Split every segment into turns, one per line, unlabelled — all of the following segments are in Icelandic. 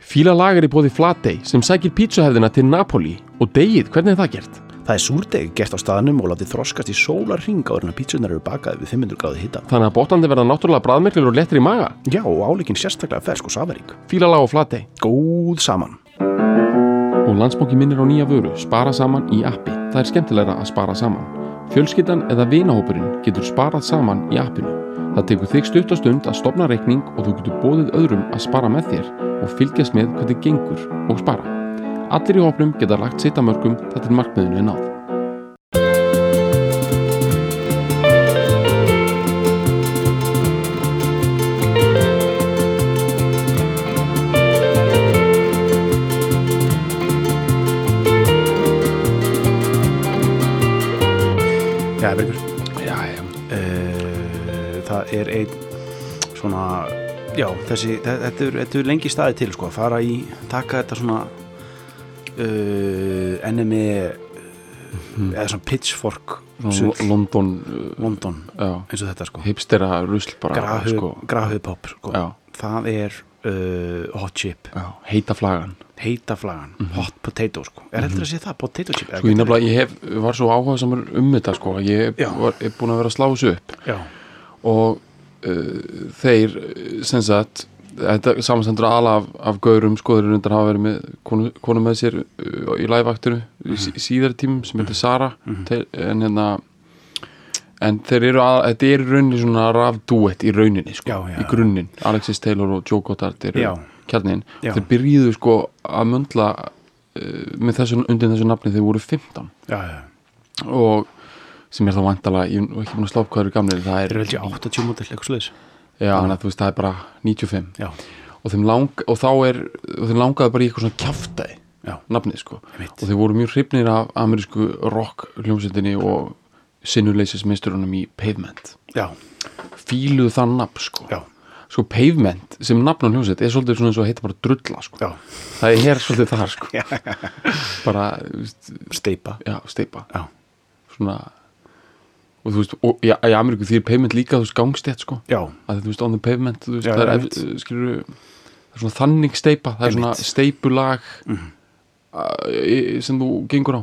Fíla lagar í bóði Flatey sem sækir pítsuhefðina til Napoli og degið, hvernig er það gert?
Það er súrdeg gert á staðnum og látið þroskast í sólar hring áður en að pítsunar eru bakaði við 500 gráði hitta.
Þannig að botandi verða náttúrulega bræðmerklur og lettir í maga.
Já, og áleikin sérstaklega fersk og safarík.
Fíla lag og Flatey.
Góð saman.
Og landsbóki minnir á nýja vöru, spara saman í appi. Það er skemmtilegra að spara saman. Fjölskyldan eða vinahópurinn getur sparað saman í appinu. Það tekur þig stutt og stund að stopna reikning og þú getur bóðið öðrum að spara með þér og fylgjast með hvernig gengur og spara. Allir í hópnum geta lagt sitt að mörgum þar til markmiðinu er náð.
Já, Bergur.
Já, já.
Uh, það er einn svona, já, þessi, þe- þetta er, þetta er lengi staði til, sko, að fara í, taka þetta svona uh, NME,
Mhm.
eða svona pitchfork,
L-
sull,
London,
London,
uh, já,
eins og þetta, sko,
hipstera rusl bara,
grahuð
sko.
grahu pop, sko,
Já,
það er uh, hot chip,
já, heita flagan.
heita flagan, hot potato, sko, er heldur að sé það, potato chip,
Sko, ég nefnilega, ég hef, var svo áhuga samar um þetta, sko, að ég
Já.
var, er búin að vera að slá þessu upp.
já,
og uh, þeir eh, sem sagt þetta samanstendur ala af, af gaurum sko þeir rundar hafa verið með konu, konu með sér uh, í lægvaktinu í sí,
Mhm.
síðari tímum sem heitir Sara þeir, en hérna en þeir eru að, þetta er í rauninni svona rafdúett í rauninni sko,
Já, já,
í grunninn, Alexis Taylor og Joe Goddard eru
Já.
kjarnin,
Já.
þeir byrjuðu sko að möndla uh, með þessu, undir þessu nafni þeir voru 15
já, já,
og sem er þá vantala, ég er nú ekki búin að slá upp hvað þeir eru gamlir, það
þeir
er
eru veldig 80 mótil, eitthvað sluðis,
Já, þannig að þú veist, það er bara 95
já,
og, þeim lang, og þá er, og þeim langaði bara í eitthvað svona kjaftaði
já,
nafnið, sko
Einmitt.
og þeir voru mjög hrifnir af amerísku rock hljómsveitinni og sinnuleysismisturunum í Pavement
já,
fíluðu það nafn, sko
já,
sko Pavement sem nafn á hljómsveit er svolítið svona eins og heita bara drulla, sko
já,
það er svolítið þar, sko bara, þú veist,
steipa,
já, steipa
já,
svona og þú veist, og, já, í Ameríku því er Pavement líka, þú veist, gangstétt, sko
já,
að þú veist on the pavement þú veist,
Já,
það, er,
einmitt.
ef- skilurðu, það er svona þannig steipa það er svona steipulag
Mhm.
mm sem þú gengur á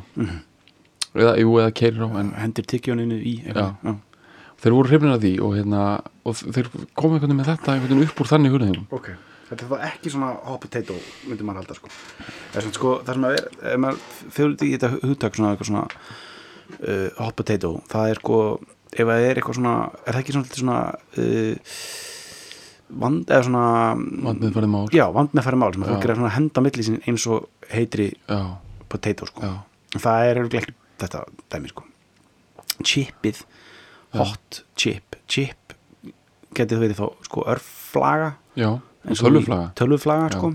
eða, jú, eða keirir á en
hendir tyggjóninu í eitthvað. já.
þeir voru hrifnir af því og, hérna, og þeir komu einhvern veginn með þetta einhvern veginn upp úr þannig hugleðingum
ok, þetta er þá ekki svona hot potato myndi maður halda sko það er svona sko, það sem að er ef maður fjóður í þetta hugtak svona, eitthvað svona uh, hot potato, það er sko ef það er eitthvað svona, er það ekki svona, svolítið svona uh, vand eða svona
vandið farið mál
já, vand með færi mál sem að
Já.
fólk er að svona henda á milli sín eins og heitri
já,
potato sko
já,
það er örugglega ekki þetta dæmi sko chipið hot chip chip getið verið þá sko örflaga
já.
eins og
tölvuflaga
í- tölvuflaga sko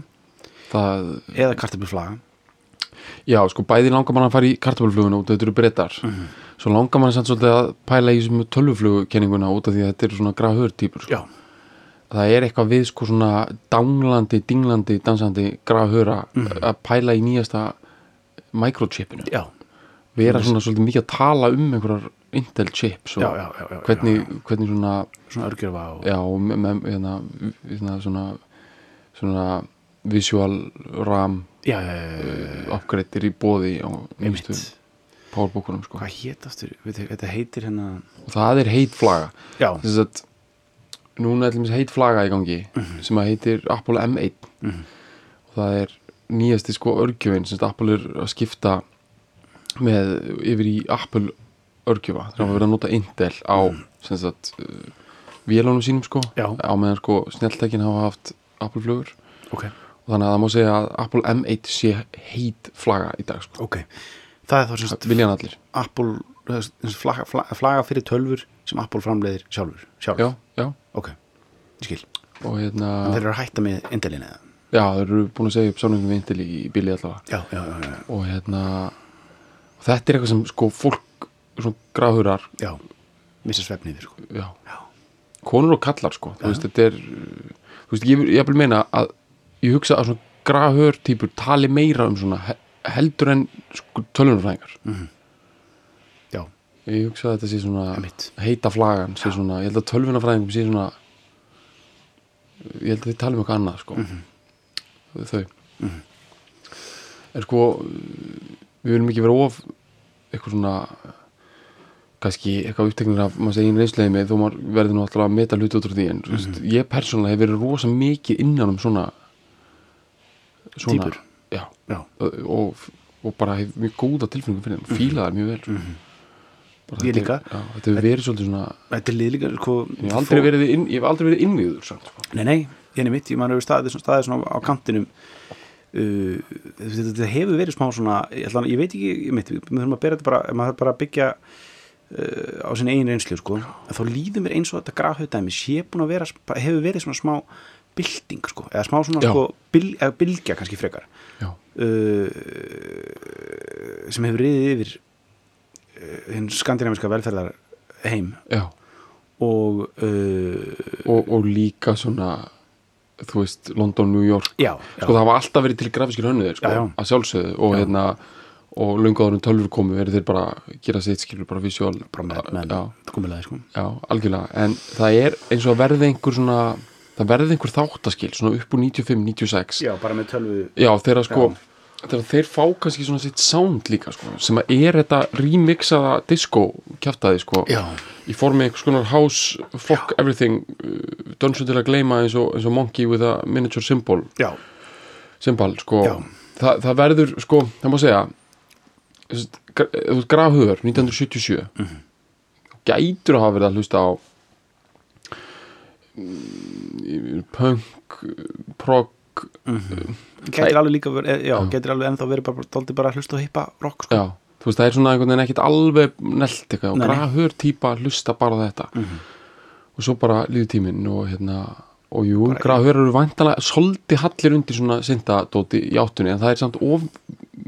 það,
eða kartabuflaga
já, sko bæði langar mann að fara í kartabölfluguna út af þetta eru breytar svo langar mann samt svolítið að pæla í þessum tölvuflugukenninguna út af því að þetta eru svona grafhör típur sko.
já,
það er eitthvað við sko svona danglandi, dinglandi, dansandi grafhöra
Mhm.
að pæla í nýjasta mikrochipinu
já,
við erum svona svolítið mikið að tala um einhverjar Intel chips og
já, já, já, já
hvernig,
já,
hvernig svona
já. svona örgjörfa og
já, og með, með, hérna, hérna, svona svona visual RAM
já, já, já, já, já,
upgrade er í bóði á nýjastu
einmitt.
powerbookunum sko.
hvað hétastur, veit þið, þetta heitir hérna
og það er heit flaga
já,
þess að núna er til dæmis heit flaga í gangi
Mhm.
sem að heitir Apple M1 og það er nýjasti sko örgjöfin sem sagt Apple er að skipta með yfir í Apple örgjöfa þegar
Mhm.
að vera að nota Intel á sem sagt uh, vélunum sínum sko
Já.
á meðan sko snjalltækin hafa haft Apple flugur
ok,
og þannig að það má segja að Apple M1 sé heit flaga í dag sko
ok það er þá semst
það vilja hann allir
Apple það er sem sagt flaga, flaga, flaga fyrir tölfur sem Apple framleiðir sjálfur, sjálf
já, já
ok, ég skil,
og hérna
en þeir eru að hætta með indilin eða,
já, þeir eru búin að segja upp samlingum við Intel í bíli allavega
já, já, já, já,
og hérna og þetta er eitthvað sem sko fólk svona grafurar
já missa svefn yfir, sko,
já,
já,
konur og kallar sko þú veist, þetta er uh, þú veist, ég, ég vil meina að ég hugsa að svona grafur típur tali meira um svona he- heldur en sko, tölunarfræðingar
já,
ég hugsa að þetta sé svona
Einmitt.
heita flagan sé svona, ég held að tölvunarfræðingum sé svona ég held að þið tala um eitthvað annað sko þau en sko við viljum ekki vera of eitthvað svona kannski eitthvað uppteknir af maður segir einn reynsleiði með þó maður verður nú alltaf að meta hluti út úr því en mm -hmm. ég persónulega hef verið rosa mikið innan um svona svona
Týpur.
já,
já,
og, og bara hef mjög góða tilfinningu fyrir þeim, fíla þær mjög vel mm -hmm.
Mhm. Ég líka.
já, þetta hefur verið svolítið svona
þetta er liðlíka sko,
ég hef aldrei verið, inn, ég hef aldrei verið innvíður samt, sko.
Nei, nei, hérna mitt, ég maður hefur staðið, staðið svona á kantinum uh, þetta, þetta hefur verið smá svona ég, ætla, ég veit ekki, ég mitt, við þurfum að bera þetta bara maður þarf bara að byggja uh, á sinni eigin reynslu, sko að þá líður mér eins og þetta grafhautdæmi sé búin að vera, bara hefur verið svona smá bylting, sko, eða smá svona
Já.
sko, byl, eða bylgja kannski frekar
já,
uh, sem hefur riðið yfir uh, hinn skandinaviska velferðar heim
já
og uh,
og, og líka svona þú veist, London, New York
já, já,
sko það hafa alltaf verið til grafískir hönnuðir sko,
Já, já.
að sjálfsögðu og hérna og lungaðurum tölfur komu eru þeir bara að gera sitt skilur bara visjól
bara með, með
já,
komulega, sko
já, algjörlega en það er eins og að verði einhver svona það verði einhver þáttaskil svona upp úr 95-96
Já, bara með tölvu
já, þeirra sko þegar þeir fá kannski svona sitt sound líka sko, sem að er þetta remixaða disco kjaftaði sko
Já.
í formi einhvers konar house fuck everything, uh, dönsum til að gleyma eins og, eins og monkey with a miniature symbol
Já,
symbol sko,
Já.
það, það verður sko, það má segja þú veist, gra- þú veist grafhugur 1977
Mhm.
gætur að hafa verið að hlusta á mm, punk prog,
getur alveg líka verið, eh, já, getur alveg ennþá verið bara, tóldi bara að hlusta og hippa rock, sko
já þú veist, það er svona einhvern veginn ekkit alveg nelt eitthvað og
Nei, Mhm. nei.
grafhugur típa að hlusta bara á þetta og svo bara líður tíminn og hérna og jú, grafhugur eru vantanlega svolítið hallir undir svona syndadóti í áttunni en það er samt of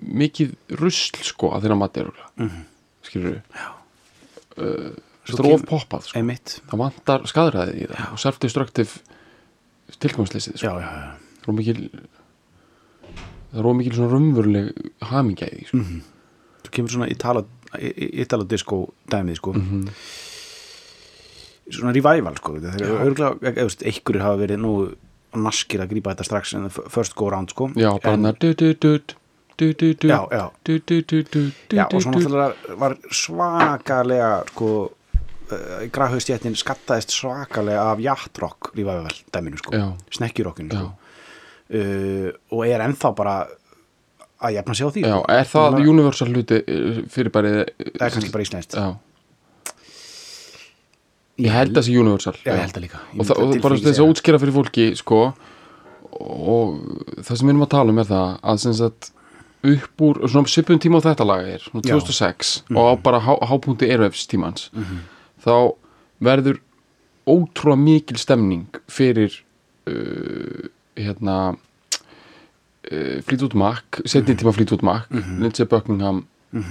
mikið rusl sko að þeirra mati eru mm
Mhm.
-hmm. skilur við
Svo
þetta er of
kemur-
poppað sko.
Einmitt
það vantar skadraðið í það og self-destructive tilgangsleysið sko.
Já, já,
það
já
er of mikil það er of mikil svona raunveruleg hamingja í því sko.
Svo kemur svona Italo, Italo disco dæmið, sko
Mhm.
Svona revival, sko Þeir eru örgulega, einhverjir hafa verið nú naskir að grípa þetta strax en the first go round, sko
já, bara
En-
þarna du-du-dut, du-du-dut,
Já, já.
du-du-du-du,
Já, og svo
du-du-dut.
náttúrulega var svakalega sko, uh, grahaustjættin skattaðist svakalega af játtrokk rífaðvel dæminu, sko,
Já.
snekkjurokkinu sko. uh, og er ennþá bara að jafna sig á því
já,
sko.
er það
Núna-
universal hluti eh, fyrirbærið eh,
það er kannski bara íslenskt
já ég held að það sé universal
Já, ég held það líka. Ég
og, það, og
myndi
bara
tilfinningu
þess
segja
að útskýra fyrir fólki sko og það sem við erum að tala um er það að sem sagt upp úr svona svipum tíma á þetta lag er svona
Já. Mhm.
2006 og á bara há, hápunkti eröfs tímans þá verður ótrúlega mikil stemning fyrir uh, hérna uh, flýt út makk, setni
Mhm.
tíma flýt út makk Lindsay Buckingham uh,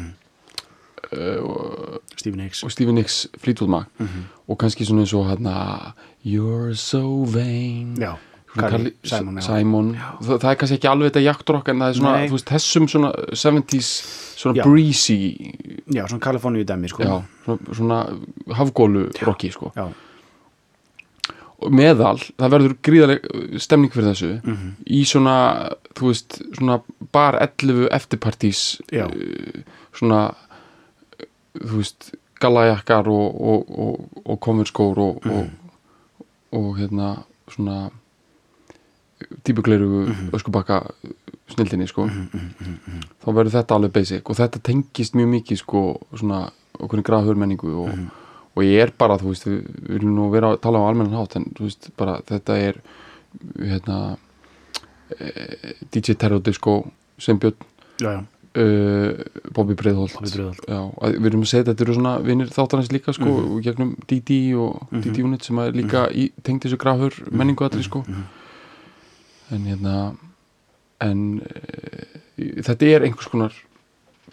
Stephen Hicks
og Stevie Nicks Fleetwood Mac
Mhm.
og kannski svona eins og hérna You're so vain
Já,
Svona
Carly
Carly-
Simon, já.
Simon. Þa, það er kannski ekki alveg þetta jaktrokk en það er svona,
Nei.
þú veist, þessum svona 70s svona
Já.
breezy
Já, svona Kaliforníu dæmi sko.
já, svona, svona hafgólu rocki sko.
Já,
og meðal, það verður gríðaleg uh, stemning fyrir þessu
Mm. mhm.
í svona, þú veist, svona bar 11 eftirpartís
já,
svona uh, þú veist, gallajakkar og, og, og, og konvertskór og, og, og hérna svona típugleiru öskubakka snildinni sko þá verður þetta alveg basic og þetta tengist mjög mikið sko svona okkur grafhör menningu og, og ég er bara þú veist við við viljum nú vera að tala á almennan hátt en þú veist bara þetta er hérna eh, DJ Terror Disco sem björn
já, já.
uh, Bobby Breiðholt,
Bobby Breiðholt.
Já, að, við erum að segja þetta, þetta eru svona vinnir þáttarins líka sko, mm gegnum DD og DD Unit sem að er líka í, tengd þessu grafur menningu allir sko en hérna en uh, þetta er einhvers konar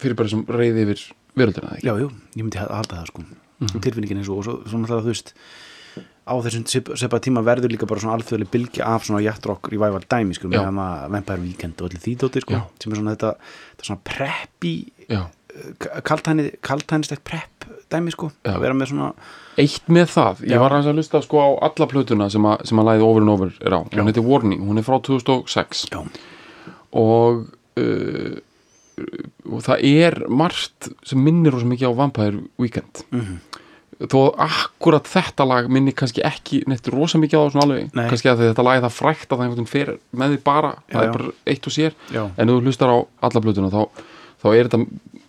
fyrirbæri sem reyði yfir veröldina það ekki
já, jú, ég myndi að halda það sko
Mhm.
tilfinningin eins og, og svo, svona það að þú veist á þessum sip- svipa tíma verður líka bara svona alþjóðlega bylgi af svona jættrokk í væval dæmi sko,
Já.
með hana Vampire Weekend og allir þýdóti sko,
Já.
sem er svona þetta, þetta svona preppi
Já.
kaltænislegt prepp dæmi sko,
Já.
að vera með svona
Eitt með það, ég var hans að hlusta sko á alla plötuna sem að, sem að læði Over and Over er á, hún heitir Warning, hún er frá 2006
já,
og uh, og það er margt sem minnir rosa mikið á Vampire Weekend
Mhm.
þó akkurat þetta lag minni kannski ekki neitt rosa mikið á það svona alveg
Nei.
kannski að þetta lag er það frækt að það einhvern veginn fer með því bara,
Já,
það
já.
er bara eitt og sér
Já.
en ef þú hlustar á alla blötuna þá, þá er þetta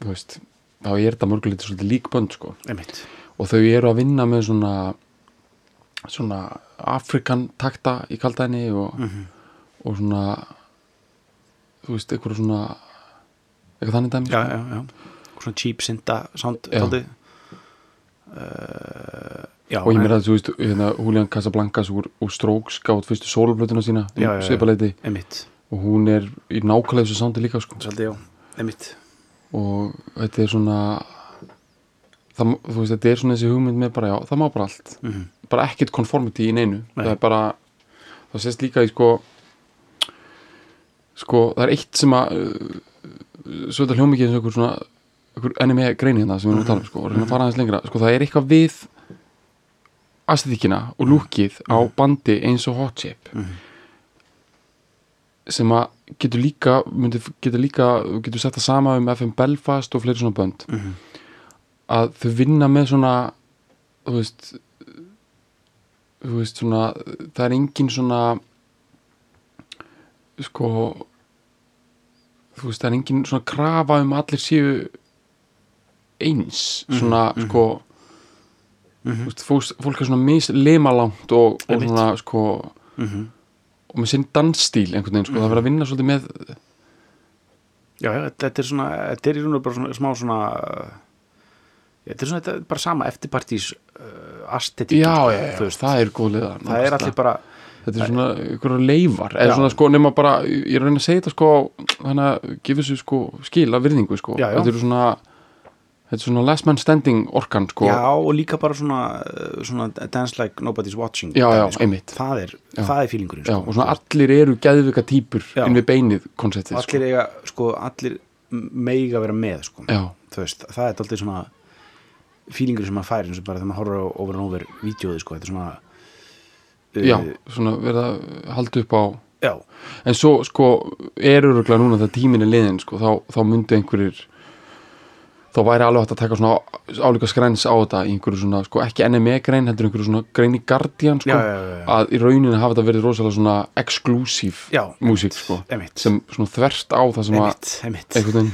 þú veist, þá er þetta mörguleiti svolítið líkbönd sko.
einmitt
og þau eru að vinna með svona svona afrikan takta í kaldæni og,
Mhm.
og svona þú veist, eitthvað svona eitthvað þannig dæmi
já,
sko.
já, já, svona cheap synda sound
Já.
dálítið. uh, já,
og ég
en-
meira að þú veist, hérna, Julian Casablancas úr, úr Strokes gátt fyrstu sólblötuna sína
Já, já, já.
svipaleiti
einmitt,
og hún er í nákvæmlega þessu sándi líka sko.
svolítið, já, einmitt
og þetta er svona það, má- þú veist, þetta er svona þessi hugmynd með bara já, það má bara allt
mm
bara ekkert conformity í neinu
Nei.
það er bara, það sést líka í sko sko, það er eitt sem að uh, svo þetta hljómikið eins og einhver svona einhver anime grein hérna sem við erum að tala um sko, og reyna að fara aðeins lengra, sko það er eitthvað við astetíkina og lúkið á bandi eins og hot shape
Mhm.
sem að getur líka myndi, getur líka, getur sett það sama um FM Belfast og fleiri svona bönd
Mhm.
að þau vinna með svona þú veist þú veist svona það er engin svona sko þú veist það er engin svona krafa um að allir séu eins
Mhm,
svona sko þú veist, fólk, fólk er svona mislimalangt og, og
Einmitt.
svona sko
-hmm.
og með sinn dansstíl einhvern veginn sko, það verður að vinna svolítið með
já, já, þetta er svona þetta er í raun og veru bara svona, smá svona uh, þetta er svona, þetta er bara sama eftirpartís uh, astetik
já, já, já,
þú veist,
það er góð liða
það er allir bara
þetta er svona ykkur leifar eða
Já.
svona sko nema bara, ég er að reyna að segja þetta sko þannig að gefa sér sko skil af virðingu sko,
Já, já.
þetta er svona þetta er svona last man standing orkan sko,
já, og líka bara svona, uh, svona dance like nobody's watching
Já, já,
dæmi, sko.
einmitt.
það er,
Já.
það er fílingurinn
Já,
sko.
og svona allir eru geðvika típur
Já.
inn við beinið konceptið
allir
sko.
eiga, sko, allir meiga vera með, sko
já,
þú veist, það er alltaf svona fílingur sem maður fær, eins og bara þegar maður horfir á over and over vídeoði, sko, þetta er svona uh,
já, svona verða haldi upp á
já,
en svo sko er öruglega núna þegar tíminn er liðin sko, þá, þá myndi einhverjir þá væri alveg hægt að taka svona á- álíka skræns á þetta í einhverju svona, sko, ekki NME grein heldur einhverju svona grein í Guardian sko,
Já, já, já, já.
að í rauninni hafa þetta verið rosalega svona exklusív
Já,
músík sko,
einmitt.
sem svona þvert á það sem að
einmitt, einmitt
einhvern veginn,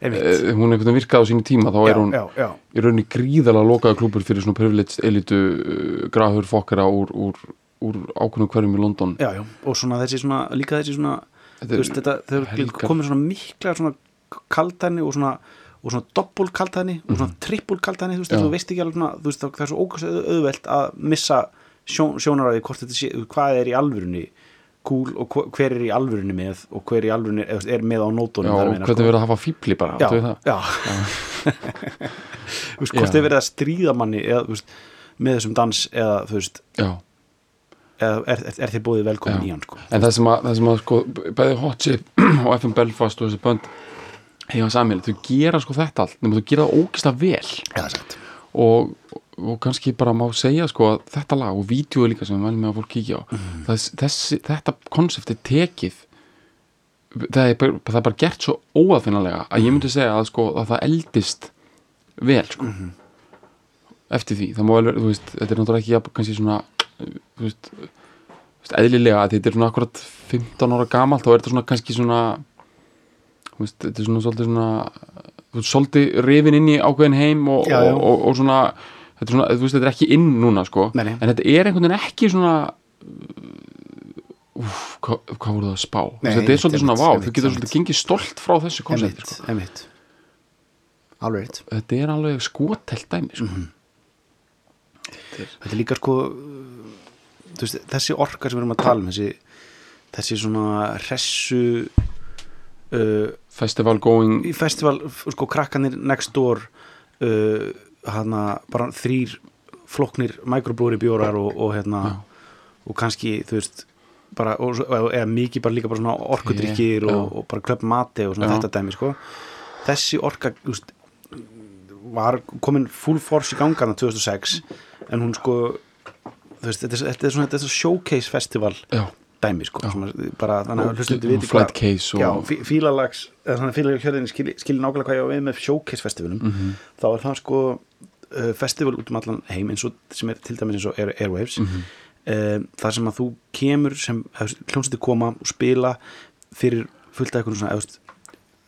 einmitt,
eh, hún einhvern veginn virkaði á sínu tíma þá
já,
er hún
já, já,
í rauninni gríðalega lokaða klúpur fyrir svona privileged elitu uh, grafur fokkara úr, úr, úr ákveðnum hverjum í London
já, já, og svona þessi svona, líka þessi svona
Þetta
þú
er
veist, þetta, þau
helgar-
komið svona mikla svona kaltæni og svona og svona doppul kaltæni og svona trippul kaltæni þú veist,
Mhm. Já.
þú veist ekki alveg svona, þú veist, það það er svo ókvæmst auðvelt að missa sjón, sjónaræði hvort þetta sé, hvað er í alvörunni cool og hva- hver er í alvörunni með og hver er í alvörunni, eða, þú veist, er með á nótunum
Já,
þar
og
að meina, sko.
hvernig verið að hafa fíbli bara,
já,
áttu við það?
já. þú veist, hvort
Já.
þið verið að stríða manni eða, þú veist, með þessum dans eða, þú veist,
Já,
eða er, er, er þið bóðið velkomin
Já.
í hann, sko
en það sem að, það sem að sko, b- bæði Hot Chip og FM Belfast og þessi bönd hefa samil, þau gera sko þetta allt nema þau gera það ógislega vel
Já, sagt
og, og kannski bara má segja sko að þetta lag og vídeo líka sem við mælum með að fólk kíkja á
Mhm.
þess, þessi, þetta konsept er tekið það er, bara- það er bara gert svo óaðfinnalega að
Mhm.
ég myndi segja að sko að það eldist vel sko
Mhm.
eftir því, það má vel vera, þú veist þetta er náttúrulega ekki jafn- kannski svona þú veist, þú veist, eðlilega að þetta er svona akkurat 15 ára gamalt þá er þetta svona kannski svona þú veist, þetta er svona svolítið svona þú veist, svolítið rifin inn í ákveðin heim og,
Já, já.
Og, og, og svona þetta er svona, þú veist, þetta er ekki inn núna sko
Nei, nei.
en þetta er einhvern veginn ekki svona úf, hvað, hvað voru það að spá Þú veist,
Nei,
þetta er svolítið svona
einmitt,
vá,
einmitt,
þú getur
einmitt.
svolítið gengið stolt frá þessu konsepti sko.
Emitt, emitt Alveg rétt
þetta er alveg skotelt dæmi sko.
Mhm. Þetta er líka sko þú veist, þessi orka sem við erum að tala um þessi, þessi svona hressu uh,
festival going
í festival sko krakkanir next door uh, hana bara þrýr floknir microblóri bjórar og, og hérna og kannski þú veist bara, og, svo- og- eða mikið bara líka bara svona orkudrykkir
Já.
og, og bara klöpp mati og svona
Já.
þetta dæmi sko þessi orka þú veist, var komin full force í gangana 2006 en hún sko þú veist, þetta, er- þetta er svona þetta er svona showcase festival
já,
dæmi sko, sem að- bara þannig að hlustundi viti
flat case og-
já, fí- fílalags, eða þannig að fílalags hjörðinni skilji skil nákvæmlega hvað ég á við með showcase festivalum
Mhm.
þá er það sko uh, festival út um allan heim eins og sem er til dæmis eins og Air, Airwaves
Mhm.
mm þar sem að þú kemur sem hljómsætti koma og spila fyrir fullt af eitthvað svona eðust,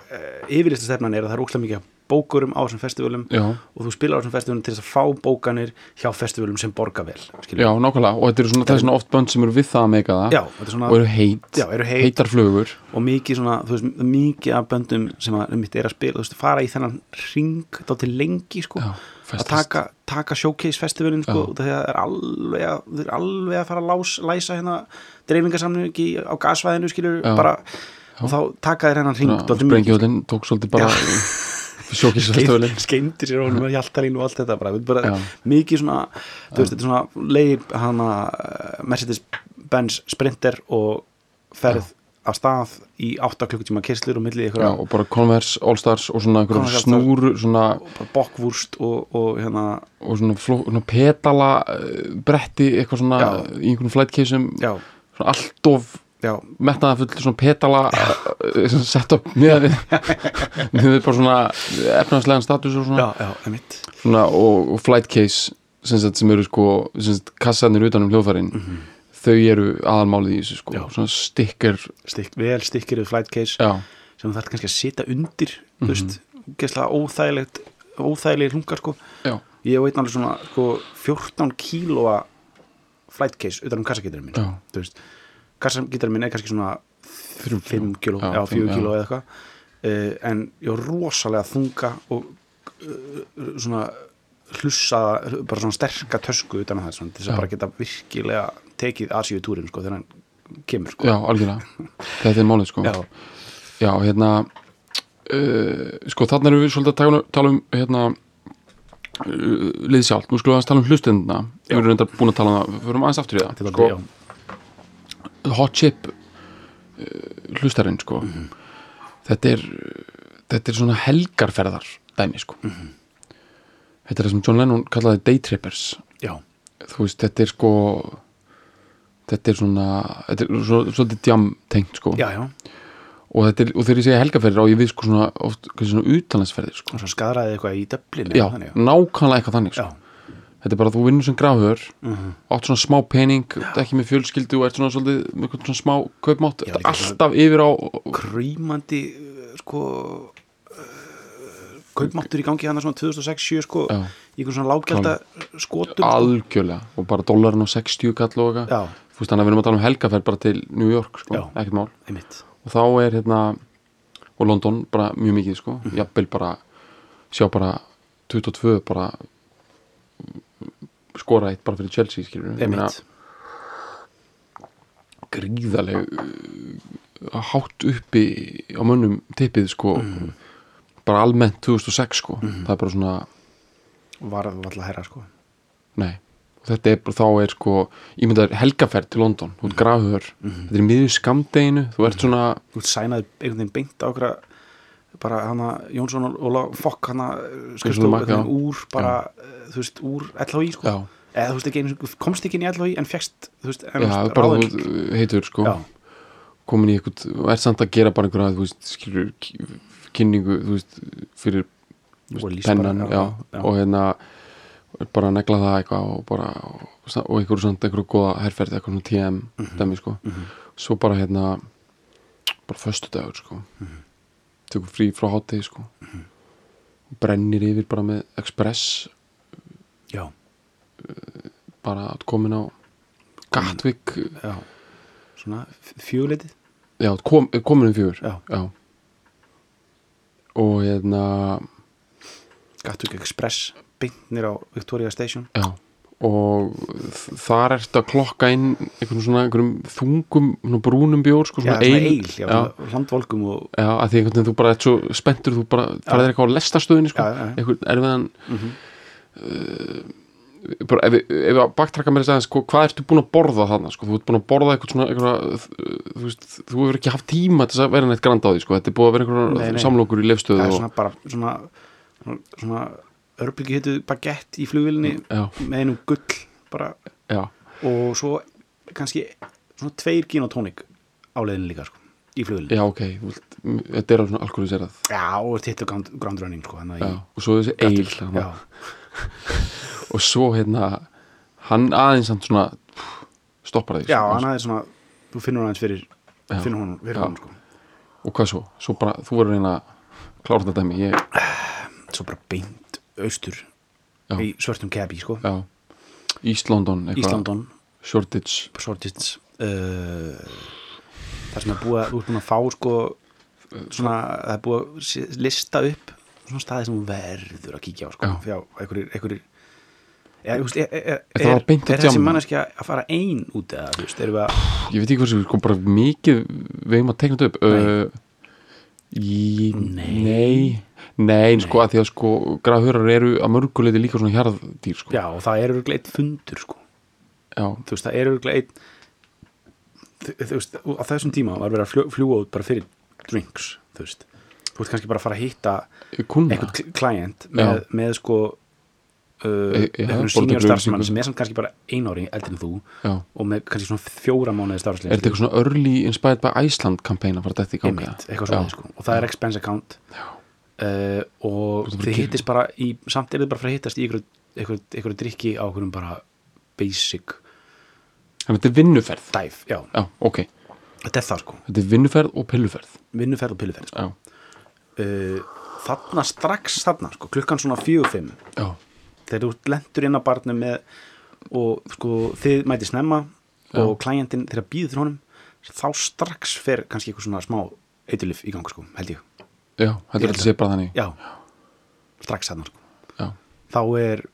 uh, yfirlista stefnan er að það er ókslega mikið af bókurum á þessum festivalum
Já.
og þú spilar á þessum festivalum til þess að fá bókanir hjá festivalum sem borga vel skilur
Já, nákvæmlega, og þetta eru svona, það er svona oft bönd sem eru við það að meika það
Já, þetta er svona-
og eru heit,
Já, eru heit.
heitar flugur
og mikið svona, þú veist, mikið af böndum sem að mitt er að spila, þú veist, fara í þennan ring þá til lengi, sko
Já,
að
festast.
taka, taka showcase festivalin, sko
Já.
út af því að það er alveg að, þeir eru alveg að fara að lás, læsa hérna dreifingarsamningi á gasvæðinu, skilur
Já.
bara, og þá taka þér hennan ring dálítið mikið,
Brengjóðin tók svolítið bara sjókisfestivölin
skeindir sér honum að hjaltalínu og allt þetta bara, við bara
Já.
mikið svona, þú veist, þetta er svona leið hana eh, Mercedes-Benz Sprinter og ferð af stað í 8 klukkutíma kerslur og milli ykkur
Já, og bara Converse, Allstars og svona einhverjum
Converse,
snúru svona,
bara bokkvúrst og, og hérna
og svona, fló, svona petala eh, bretti, eitthvað svona
Já.
í einhverjum flætkeisum
já,
svona allt of
já,
metnaðafull svona petala eh, svona setup miðað við miðað við bara svona efnaðslegan status og svona,
já, já, emitt
svona og, og flight case sem, sagt, sem eru sko sem sagt, kassanir utan um hljóðfærin þau eru aðalmálið í þessu sko
Mhm. Já.
svona stikker
Stik, vel stikkirðu flight case
já,
sem þú þarf kannski að sita undir þú veist, gæslega óþægilegt óþægilegir hlungar sko
já,
ég veit náttúrulega svona sko, 14 kílóa flight case utan um kassagítarinn minn
Já.
þú veist, kassagítarinn minn er kannski svona 5 kíló,
Já,
já, 4
já.
kíló eða eitthvað uh, en ég var rosalega þunga og uh, svona hlussa, bara svona sterka tösku utan að það, svona, til þess
Já.
að bara geta virkilega tekið Asíu túrin, sko, þegar hann kemur, sko
já, algjörlega þetta er málið sko
Já,
Já, hérna uh, sko þarna erum við svolítið að tala, tala um hérna uh, liðið sjálft, nú skulum við að tala um hlustendina við erum reyndar búin að tala um það, við förum aðeins aftur í það
til að
sko,
byrja á.
hot chip uh, hlustarinn sko þetta er uh, þetta er svona helgarferðar dæmi sko þetta er það sem John Lennon kallaði daytrippers
já,
þú veist, þetta er sko þetta er svona þetta er svo- svolítið djam tengt sko
já, já,
og, þetta er, og þegar ég segja helgaferðir á ég við sko svona, oft, kannski svona utanlandsferðir sko.
og svo skadraði eitthvað í döflinu
já, Mm.
þannig, já.
nákvæmlega eitthvað þannig sko.
Já. Mhm.
þetta er bara að þú vinnur sem grafhör átt svona smá pening, ert ekki með fjölskyldu og ert svona, svolítið, með einhvern svona smá kaupmátt
Já,
þetta er
líka
alltaf yfir á
Krýmandi, uh, sko uh, kaupmáttur í gangi hann svona 2006-7, sko
Já.
í einhvern svona lággelda skotum
algjörlega og bara dólarinn á 60 kall og eitthvað
sko. Já.
Þú veist, þannig að við erum að tala um helgaferð bara til New York sko,
Já.
ekkert mál
einmitt,
og þá er hérna og London bara mjög mikið sko
Mhm.
jafnvel bara, sjá bara 22 bara mm, skora eitt bara fyrir Chelsea skilur
einmitt
gríðaleg uh, hátt uppi á mönnum tippið sko
Mhm.
bara almennt 2006 sko það er bara svona,
var það alltaf herra, sko
nei og þetta er bara, þá er sko, ég myndi að helgaferð til London,
Mhm.
þú ert grafhör þetta er í miður skamdeginu, þú ert svona
þú ert sænaði einhvern veginn beint á okkur bara hana Jónsson og Óla fokk hana eh, skristu
Jónsson og Maka, já.
úr bara, eh, þú veist, úr LHI sko.
já,
eða þú veist ekki, einu sinni- komst ekki inn í LHI en fegst, þú veist, en
já
varst
bara
ráðin-
þú uh, heitur sko
já,
komin í eitthvað og er samt að gera bara einhverja þú veist, skilur k- kynningu þú veist, fyrir þú
Og lýs
veist,
bara,
pennan
já,
já,
já.
og hérna er bara að negla það eitthvað og bara og, og einhverju samt einhverju góða herferð eitthvað svona TM
Mhm,
dæmi sko svo bara hérna bara föstudagur sko
Mhm.
tekur frí frá hátegi sko brennir yfir bara með Express
já,
bara komin á Gatwick
já svona fjöguleiti
já, kom, komin um fjögur
Já.
og hérna
Gatwick Express, beintnir á Victoria Station
Já, og þ- þar ertu að klokka inn einhvern svona einhverjum þungum svona brúnum bjór, sko,
já,
svona,
svona eil, já,
já,
já. landvolkum og
já, að því einhvern veginn þú bara ert svo spenntur, þú bara farið eitthvað á lestastöðinni, sko,
Já, já, Mhm. já.
einhvern erfiðan mm bara ef, við- ef að baktraka mér þess aðeins, sko, hvað ertu búin að borða þarna, sko, þú ert búin að borða eitthvað svona einhverja, þ- þú veist, þú hefur ekki haft tíma til þess að vera neitt grand á því, sko, þetta er búið að vera
Nei, nei.
einhverjar samlokur í lefstöðu
það er
og,
svona bara svona, svona, svona örbyggi hittu bagett í flugvillinni
já,
með einum gull bara
já,
og svo kannski svona tveir gin og tónik á leiðinu líka sko, í flugulinu
já, ok, þú vilt, m- þetta er alveg svona alkoholiserað
Já, og þetta er ground, ground running sko, þannig
já,
að
og svo þessi eil
ég-
þarna.
já,
og svo hérna hann aðeins samt svona pff, stoppar sko. því
já, hann aðeins svona þú finnur aðeins fyrir, finnur hún fyrir
já.
hún sko.
og hvað svo, svo bara, þú verður að reyna að klára þetta dæmi, ég
svo bara beint austur
Já.
í svörtum kebi sko,
já, East London eitthvað,
Íslandon
Shoreditch
sortist uh, það sem er búið að, þú ert búin að fá sko, svona, það er búið að sé- lista upp svona staði sem þú verður að kíkja á sko,
Já.
fjá, einhverir, einhverir Er, er, er,
Þetta
e, er,
var
er,
beint á
er þessi
djamminu.
manneskja að fara ein út eða, þú veist, erum við að
ég veit ekki hvað sem sko bara mikið við hefum að tekna þetta upp uh, í, nei. nei nei, sko að því að sko græðhörar eru að mörguleiti líka svona hjarðdýr sko.
já, og það er örugglega eitt fundur sko
já,
þú veist, það er örugglega einn þú þú veist, á þessum tíma var verið að fljó- fljúga út bara fyrir drinks þú veist, þú veist kannski bara að fara að hitta
kuna
einhvern kl- klient með, með sko uh,
E- já,
einhvern
borða
senior
gröfu
starfsmann
sykur.
sem er samt kannski bara ein ári eldri en þú
já.
og með kannski svona fjóra mánuði
er þetta
starfsleif
eitthvað svona early inspired by Iceland kampæn að fara þetta í gangi
einmitt, eitthvað svona, sko, og það er expense account uh, og
Þú ert að fara að
þið
gera-
hittist bara í, samt er þið bara að fara að hittast í einhverju- einhverju einhverju drikki á einhverjum bara basic
en þetta er vinnuferð
dive, já,
já, ok,
þetta er það sko
þetta er vinnuferð og pilluferð
vinnuferð og piluferð
já,
uh, þarna strax þarna sko, klukkan svona fjögur fimm
já,
þegar þú lendur inn á barnum með, og sko, þið mæti snemma og klæjandinn þegar býður honum þá strax fer kannski eitthvað svona smá eitulif í gang sko, held ég
já þetta er
Ég held
alltaf sé bara þannig
já, strax þarna sko.
já,
þá er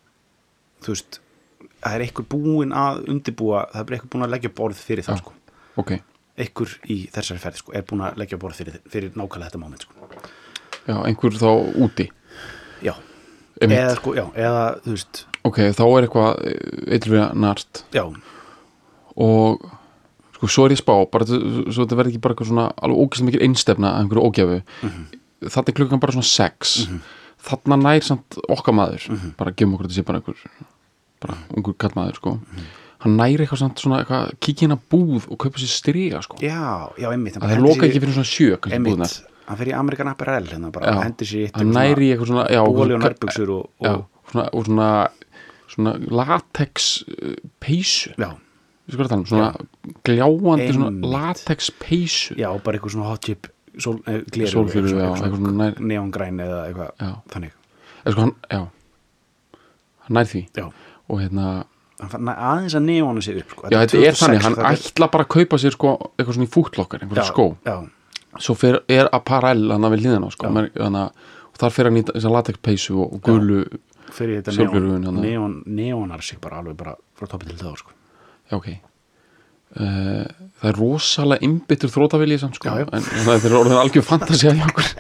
þú veist, það er eitthvað búin að undibúa, það er eitthvað búin að leggja borð fyrir það sko,
ok
eitthvað í þessari ferð sko, er búin að leggja borð fyrir, fyrir nákvæmlega þetta moment sko.
já, einhver þá úti
já,
Einmitt.
eða sko, já, eða þú veist,
ok, þá er eitthvað eitthvað nart
já
og sko, svo er ég að spá bara, þetta- svo þetta verði ekki bara eitthvað svona alveg ógæslega mikil einstefna að einhverju ógjafu mm
Mhm.
þarna er klukkan bara svona 6 þarna nær samt okkar maður
Mhm.
bara gefum okkur þetta sé bara einhver bara ungur kallmaður sko
Mhm.
hann nær eitthvað samt svona eitthvað kíkja hérna búð og kaupa sér striga sko
Já, já, einmitt
að það loka ekki fyrir svona sjö kannski búðnar
Einmitt, hann fyrir í Amerikan Apparel hérna bara,
Já.
hendur sér í eitt
hann nær í eitthvað svona já,
búali og
svona-
nærbuxur og,
já,
og
svona, og svona svona latex uh, peysu
já.
Veistu hvað ég er að tala um? svona gljáandi
Einmitt.
svona latex peysu
já, bara eitthvað svona hot chip sól, eh, gleru,
Sólgleru, já, eitthvað svona nær-
neongræn eða eitthvað
Já.
þannig,
eða sko hann, já hann nær því
já,
og hérna,
hann fann aðeins að neónu sér upp sko.
já þetta er
2006,
þannig hann
þetta er-
ætla bara að kaupa sér sko eitthvað svona í fúttlokkar, einhverja
já,
skó
já,
svo fer, er apparel hann að við hliðina á, sko, Mer- þannig að og þar fer hann í þessa latexpeysu og, og gulu já.
fyrir þetta
Sólgleraugun
neón,
hérna.
neón, neónar sig bara alveg bara frá toppi til þau sko.
ok uh, það er rosalega innbyttur þrótavilji samt sko
Já, já.
en en það er orðin algjör fantasía hjá okkur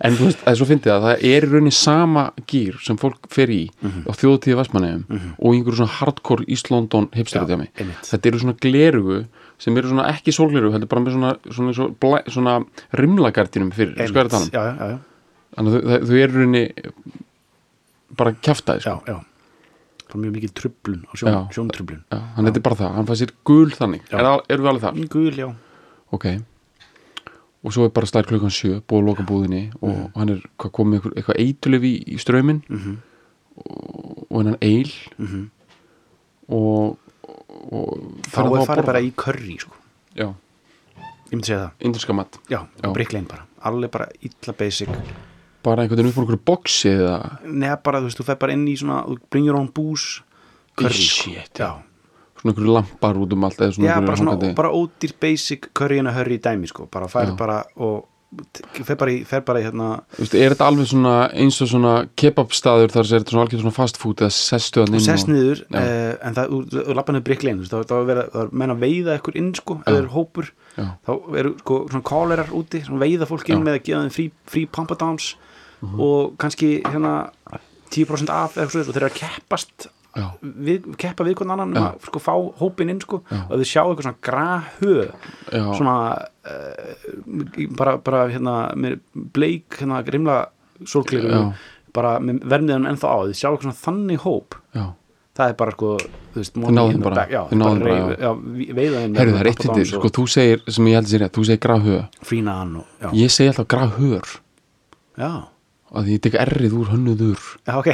en þú veist, það er svo fyndið að það er í rauninni sama gýr sem fólk fer í
Mhm.
á þjóðtíði Vestmanneum og í einhverju svona hardcore East London hipsterutjami
Já, einmitt.
þetta eru svona glerugu sem eru svona ekki sólglerugu, heldur bara með svona, svona, svona, svona, svona rimlagardinum fyrir, sko er þetta
já, já, já,
þannig að þau- þau- þau eru í rauninni bara kjaftaði
já,
sko.
já bara mjög mikið trublun, á
Já.
sjón, sjóntröblun
Já, hann þetta er bara það, hann fæ sér gul þannig
Já.
er, al- erum við alveg þar?
gul, já,
ok og svo er bara slær klukkan sjö búið að loka búðinni og
Mhm.
hann er hvað, komið eitthvað, eitthvað eitulif í, í ströminn og, og hennan eil og, og
Mhm. þá er farið bara í curry sko.
já,
ég myndi segja það
indriska mat
Já,
Já.
já. Brick Lane bara, alveg bara illa basic
bara einhvern veginn upp úr einhverju boxi eða
Nei, bara, þú veist, þú fer bara inn í svona þú bring your own booze curry,
Í
sko.
shit,
já,
svona einhverju lampar út um allt eða svona
já
einhverju
bara, svona,
hangandi-
bara ódýr basic curry and a hurry dæmi, sko, bara fær
Já.
bara og t- fer bara í, fer bara í hérna
Þú veist, er þetta alveg svona eins og svona kebabstaður þar sem er þetta svona algjörð svona fast food eða sestu hann inn
sest niður,
Já.
uh, en það, þú- þú lappa niður Brick Lane, þú veist, þá- þá er verið- þá er menn að veiða ykkur inn, sko, ef það er hópur
Já.
þá eru, sko, svona kálerar úti svona veiða fólk inn
Já. Mhm.
með að gefa þeim frí, frí pampadowns og kannski hérna 10% af eða eitthvað svoleiðis, og þeir eru að keppast
já,
við, keppa við hvernig annan um
Já.
að sko, fá hópin inn sko, og þau sjá eitthvað svona grahö
já,
svona uh, bara, bara hérna með bleik, hérna grimla sólkliru
Já.
bara með vermiðan ennþá á þau sjá eitthvað svona þannig hóp
já,
það er bara sko þú veist, hérna
náðum bara,
já,
þið náðum
bara,
bara,
reyf, já, vi- veiða þeim hérna
Herru,
með
það er eitt
Aquadons
hittir,
og
sko, þú segir sem ég held sér rétt, þú segir grafhuga
frína hann og, já,
Ég segi alltaf grafhör
já,
að því ég tek errið úr hönnuður
já, ok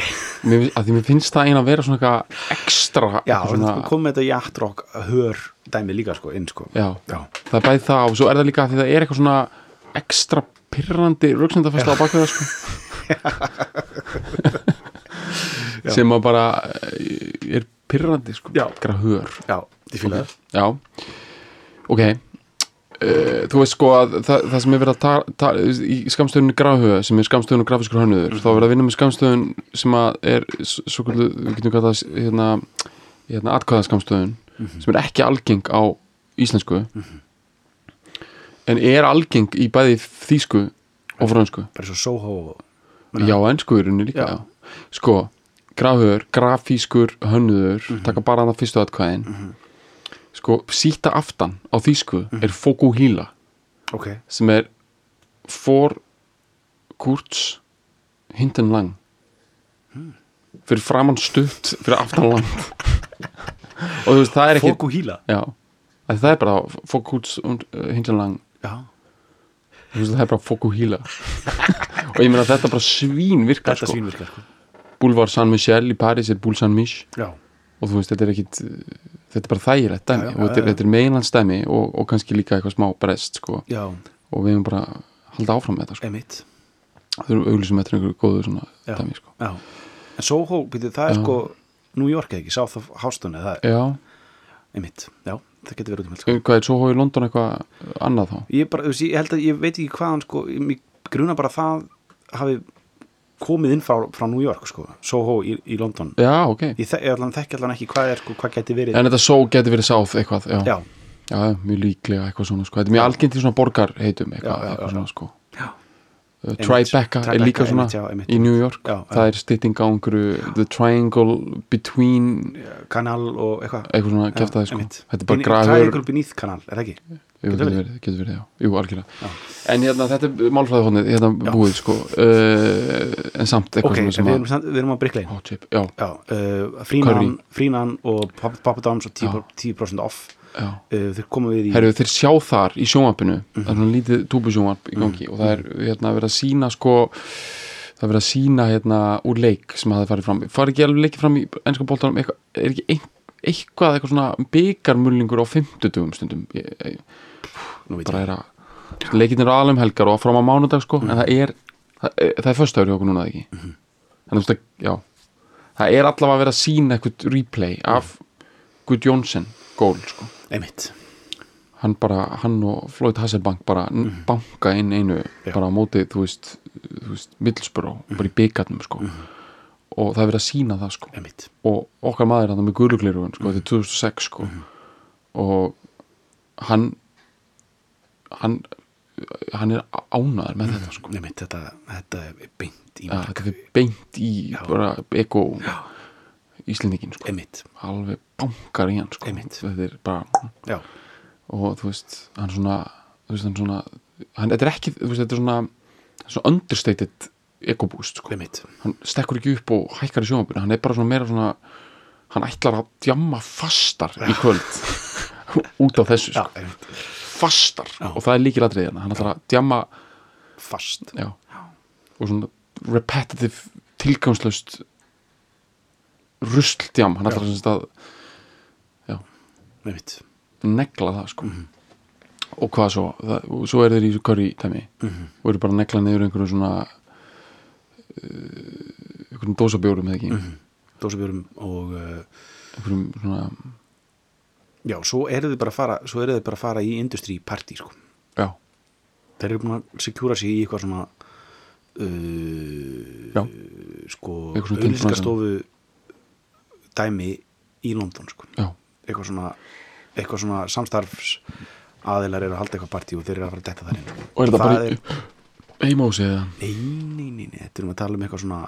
mér, að því mér finnst það eina að vera svona eitthvað ekstra
já,
eitthvað
svona...
svona,
komið þetta játtrokk hör dæmi líka sko, inn sko
já,
já,
það er bæði það og svo er það líka að því það er eitthvað svona ekstra pyrrandi röksendafæsla á bakvið það sko sem að bara eh, er pyrrandi sko
Já.
grafur
já, ég fíla það
já, ok Uh, þú veist sko að það, það sem er verið að ta, ta, í skamstöðunni grafhuga sem er skamstöðun og grafiskur hönnuður þá er verið að vinna með skamstöðun sem að er s- svo kvöldu, við getum kallað hérna, hérna atkvæða sem er ekki algeng á íslensku en er algeng í bæði þýsku og fransku
bara svo Soho og
já, ennsku í rauninni líka
Já.
já. sko, grafhugur, grafískur hönnuður,
Mhm.
taka bara hann að fyrstu atkvæðin sko, síta aftan á þýsku
Mhm.
er fokuhíla
ok,
sem er for kurz hinten lang
Hmm.
fyrir framann stutt fyrir aftan langt og þú veist, það er ekki
fók og híla
já, Að það er bara for kurz und, uh, hinten lang
já,
Þú veist, það er bara fokuhíla og ég meina að þetta bara svín virkar
þetta svínvirkar sko
Boulevard San Michel í Paris er Boule San Mich
já,
og þú veist, þetta er ekkit þetta er bara þægilegt dæmi
Já, já,
og þetta
já,
er,
já.
þetta er meginlands dæmi og, og kannski líka eitthvað smá brest sko.
já,
og við hefum bara að halda áfram með þetta sko.
emitt
þau eru auglýsum eftir einhverju góðu svona
Já.
dæmi sko.
já, en Soho, býtu, það er sko New York eða ekki, South of Houston eða það er,
Já, Eh,
emitt, já, það getur verið út um allt sko.
hvað er Soho í London eitthvað annað þá?
ég bara, þú veist, ég held að ég veit ekki hvað hann sko, mér gruna bara að það hafi komið inn frá, frá New York sko, Soho í, í London
Já, ok
ég, þek, ég allan þekki allan ekki hvað er sko, hvað gæti verið
En þetta Soho getur verið South eitthvað Já,
já,
já mjög líklega eitthvað svona sko. Þetta er mjög algengt í svona borgarheitum eitthvað,
Já, já,
eitthvað
já,
svona sko
já,
Uh, Tribeca er
Tribeca,
líka svona
einmitt, já, einmitt.
í New York
Já, já.
það er stytting á einhverju The Triangle Between
kanal og eitthvað
eitthvað svona
Já,
kæftaði sko
einmitt.
þetta er bara
Bin-
grafur
Triangle beneath kanal, er það
Jú,
ekki? Getur
getur
verið?
verið, getur verið, já, jú, algjörlega en hérna, þetta er málfræðihóðnið, hérna búið sko, uh, en samt
ok,
eitthvað
en
sem
við
að,
erum, samt- við erum á Bricklein
hot chip, já,
já, uh, frínan,
Curry.
frínan og Papa Papa Doms og 10%, 10 off
já
uh, þeir koma við í
herru, þeir sjá þar í sjónvarpinu
Mhm.
það er svona lítið túbusjónvarp í gangi og það er hérna verið að sína sko það er verið að sína hérna úr leik sem hafði farið fram, farið ekki alveg leikið fram í ennska bóltanum, eitthvað, er ekki ein, eitthvað eitthvað svona byggarmullingur á 50 stundum, ég, ég,
nú veit
bara er að leikinn eru aðlum helgar og fram á mánudag sko en það er, það er, það er föstaður hjá okkur núna eða ekki mm -hmm. en þú veist að, já það er allavega að vera að sína eitthvað replay af Guð Jónsson gól sko,
ég, einmitt
hann bara hann og Floyd Hasselbank bara mm banka inn einu,
Já.
bara á móti þú veist, þú veist, Middlesbrough bara í byggarnum sko og það er verið að sína það sko
einmitt,
og okkar maður hann með gulugleirugun sko, þetta er 2006 sko og hann hann hann er ánaður með
Mhm.
þetta sko
einmitt þetta, þetta er beint í
ja,
mark
þetta er beint í bara eko íslendingin sko
einmitt,
alveg bankar í hann sko
Einmitt.
þetta er bara
já,
og þú veist hann svona þú veist hann svona hann, þetta er ekki þú veist þetta er svona svona understated eko boost sko
einmitt
hann stekkur ekki upp og hækkar í sjónvapinu hann er bara svona meira svona hann ætlar að djamma fastar í kvöld út á þessu
já,
sko.
einmitt,
fastar og það er líkilatrið hérna hann ætlar að djamma
fast
já. og svona repetitive tilgangslöst rusldjam hann ætlar sem sagt að
einmitt,
negla það sko og hvað svo það, og svo er þeir í þessu curry tæmi og eru bara að negla niður einhverjum svona uh, einhverjum dósabjórum eða ekki
dósabjörum og uh,
einhverjum svona
já, svo eru þið bara að fara svo eru þið bara að fara í industry party sko.
já
þeir eru búin að sekjúra sig í eitthvað svona uh,
Já,
sko,
Eitthvað svona
auðlýsingastofu dæmi í London sko.
já,
eitthvað svona eitthvað svona samstarfs aðilar eru að halda eitthvað partí og þeir eru að fara að detta þar inn
og er það, bara
er,
er... heima húsi eða
nei, nei, nei, nei, þetta erum að tala um eitthvað svona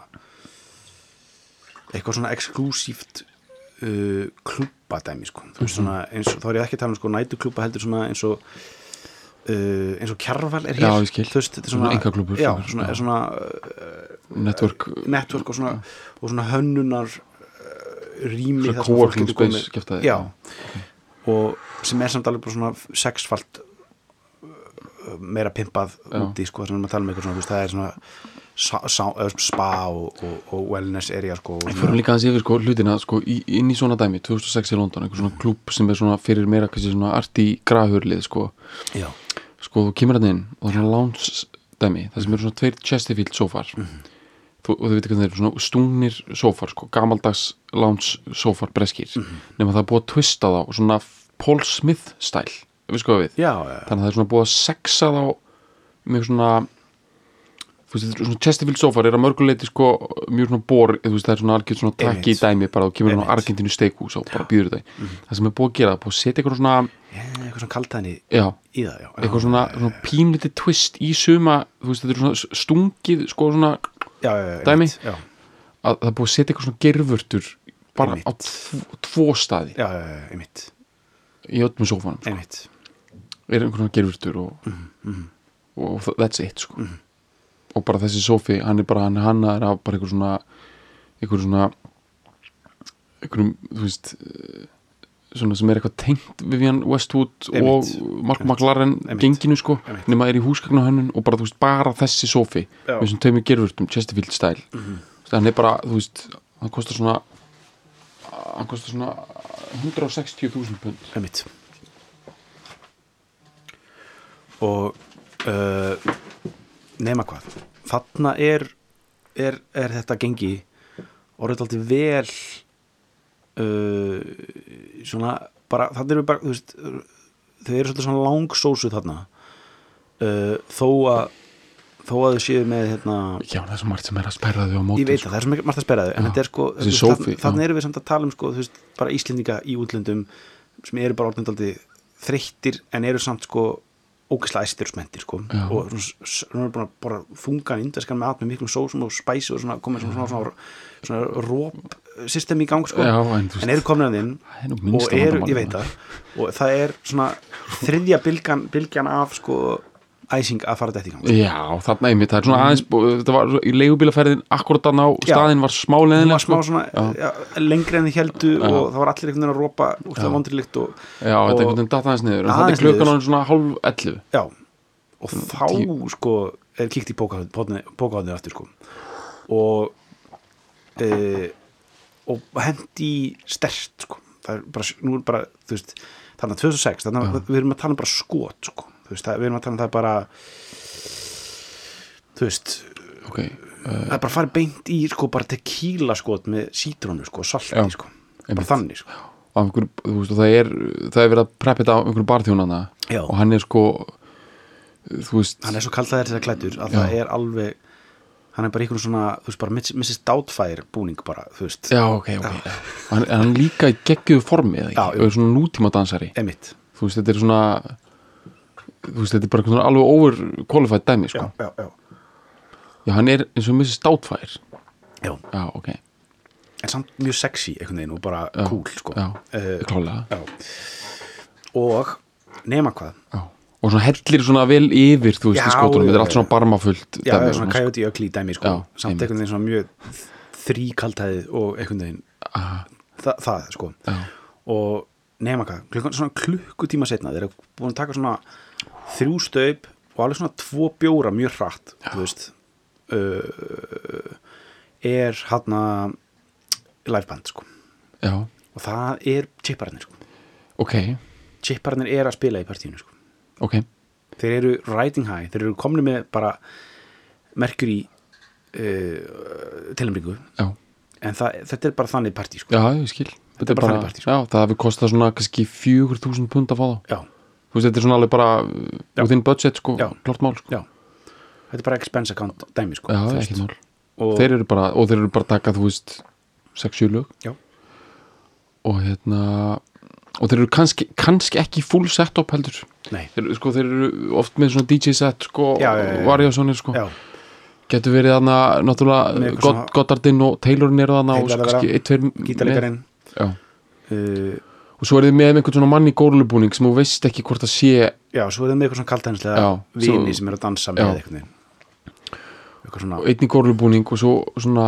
eitthvað svona exklúsíft uh, klúbadæmi sko. þú
Mhm.
veist svona, eins og, þá er ég ekki að tala um sko nætuklúba heldur svona eins og uh, eins og kjarval er hér
Já, ég skil.
þú veist, þetta er
Svona
svona,
einkaklúbbur
já,
frekar,
svona,
já.
svona uh,
network,
network og svona, og svona hönnunar uh, rými
Svona
þar sem fólk
co-working
getur komið-
space, kjaftaði.
já, og sem er samt alveg bara svona sexfalt uh, meira pimpað
Já.
úti sko, þar sem maður tala með eitthvað svona, þú veist, það er svona sa, sa, eða svona spa og, og, og wellness area sko, og
Förum
svona,
líka aðeins yfir sko hlutina sko í, inn í svona dæmi 2006 í London, einhver svona klúb sem er svona fyrir meira kannski svona arti grafurlið sko
já,
sko þú kemur hann inn og það er svona lounge dæmi það sem eru svona tveir Chesterfield sofar þú, og þú veitir hvernig þeir eru svona stungnir sofar sko, gamaldags lounge sofar breskir, nema það er búið að twista þá og svona Paul Smith stæl við sko við,
já, já,
þannig að það er svona búið að sexa þá með svona þú veist, þetta er svona Chesterfield sofar er að mörguleiti sko mjög svona bor, þú veist, það er svona algjörn svona takki
Einmitt.
dæmi bara þú kemur hann á
Einmitt. Mhm.
Argentínu steikhús og bara býður þetta það sem er búið að gera, það er búið að setja eitthvað svona
já eitthvað svona kaltæðni
já,
í það, já,
eitthvað svona, svona pínlítið twist í suma þú veist þetta er svona stungið sko svona
já, já, já,
dæmi.
einmitt, já,
að það er búið að setja eitthvað svona gerfurtur bara
Einmitt.
á tvo, tvo staði
já, já, já, einmitt
í öllum sófanum sko.
einmitt,
er einhvern svona gerfurtur og,
Mhm,
og þa- that's it sko. og bara þessi sófi hann er bara hann, hann er af bara einhver svona einhver svona einhverjum þú veist eh, svona sem er eitthvað tengt Vivian Westwood
Einmitt.
og Mark McLaren
Einmitt.
genginu sko,
Einmitt.
nema er í húsgagnahönnun og bara þú veist bara þessi sófi
Já. Mhm.
með þessum taumi gerfurtum, Chesterfield style mm -hmm. hann er bara, þú veist hann kostar svona hann kostar svona 160.000 pund
einmitt og uh, nema hvað þarna er, er, er þetta gengi orðið aldrei vel uh, svona bara, þarna eru bara þú veist, þau eru svolítið svona langsósu þarna uh, þó að þó að þau séu með hérna,
Já, það er svo margt sem er að sperra þau á móti sko.
ég veit það, það er svo mikið margt að spera þau en
Já,
þetta er sko,
þessi
þú veist,
sófi,
þarna- þarna
já.
erum við samt að tala um sko, þú veist, bara Íslendinga í útlöndum sem eru bara orðnindaldi þreyttir en eru samt sko ógæslega æstursmentir sko
Já.
og svona s- s- hún er bara, bara þungan indverskan með allt með miklum sósum og spæsi og svona komið svona, svona, svona, svona róp system í gang sko
Já, en þú veist,
en eru komin að þinn
það er nú
og
minnsta
eru,
vandamálið,
ég veit það og það er svona þriðja bylgan, bylgjan af sko æsing að fara þetta í gang sko.
Já, þarna einmitt, það er svona aðeins það var í leigubílaferðin akkurat að ná
Já.
staðin var smá sko.
hún
leðinlega
var smá svona já. lengri en þið heldu
Já.
og það var allir einhvern veginn að rópa og það var vondrilikt og,
Já, þetta er
og-
einhvern veginn datt aðeins niður en það
Aðeins
er klukkan
niður.
hann svona hálf 11
já, og þá sko er kíkt í bókaháðinu aftur sko og e, og hendi stert sko það er bara, nú er bara, þú veist þarna 2006, þarna við erum að tala um bara skot sko, þú veist, það, við erum að tala um það bara þú veist,
Ok, Eh.
það er bara farið beint í sko bara tequila skot með sítrónu sko, salti
Já,
sko,
einmitt.
bara þannig sko
og einhver, þú veist, og það er það er verið að preppa þetta á einhverju barþjónana
Já.
og hann er sko þú veist,
hann er svo kallað þessar klættur að það er alveg hann er bara einhvern svona, þú veist bara Miss- Mrs. Doubtfire búning bara, þú veist
já, ok, ok já. Hann, en hann líka í geggjuðu formi eða ekki,
Já,
og
jú.
er svona nútíma dansari
emitt
þú veist, þetta er svona þú veist, þetta er bara einhvern veginn alveg overqualified dæmi, sko
já, já, já.
Já, hann er eins og missi státfær
já,
Já, ok,
en samt mjög sexy einhvern veginn og bara cool sko.
já,
Eh,
klálega
já. og nema hvað
já. Og svona hellir svona vel yfir, þú veist,
Já,
í skotunum
já,
Þetta er allt
já.
svona barmafullt
já,
dæmi,
já, svona
sko.
coyote ökli dæmi sko.
Já,
samt
einmitt.
einhvern veginn svona mjög þríkaltæði og einhvern veginn
Aha,
Þa, það sko
Já.
og nema hvað, klukkan svona klukkutíma setna þeir eru búin að taka svona þrjú staup og alveg svona tvo bjóra mjög hratt þú veist uh, er hann að liveband sko
já,
og það er chippararnir sko
ok,
chippararnir er að spila í partíinu sko
ok
þeir eru riding high, þeir eru komni með bara merkjur í uh, tilumringu
Já,
en það, þetta er bara þannig partí sko
já, ég skil Þetta
bara þannig partí, sko.
Já, það hefur kostað svona kannski 4.000 pund að fá þá
já,
Þú veist, þetta er svona alveg bara uh, within budget, sko,
Já.
klart mál, sko
já þetta er bara expense account dæmi sko
Já,
þú veist.
ekkert mál
og,
Þeir eru bara, og þeir eru bara að taka, þú veist, 6-7 lög
já,
og hérna og þeir eru kannski, kannski ekki full set-up heldur
nei,
þeir, sko, þeir eru oft með svona DJ set sko,
Já, já, já, já.
Varjásonir sko.
já,
getur verið þarna
Með
náttúrulega
eitthvað
God,
svona-
Goddardinn og Taylorin eru þarna og
Taylor er
kannski
þarna,
eitt, tveir
gítarleikarinn
með- já.
uh,
og svo er þið með einhvern svona mann í gólubúning sem þú veist ekki hvort það sé
já, svo er það með eitthvað svona kaltænslega
Já,
vini
svo-
sem eru að dansa
Já.
með eitthvað neginn. eitthvað svona
einn í gólubúning og svo svona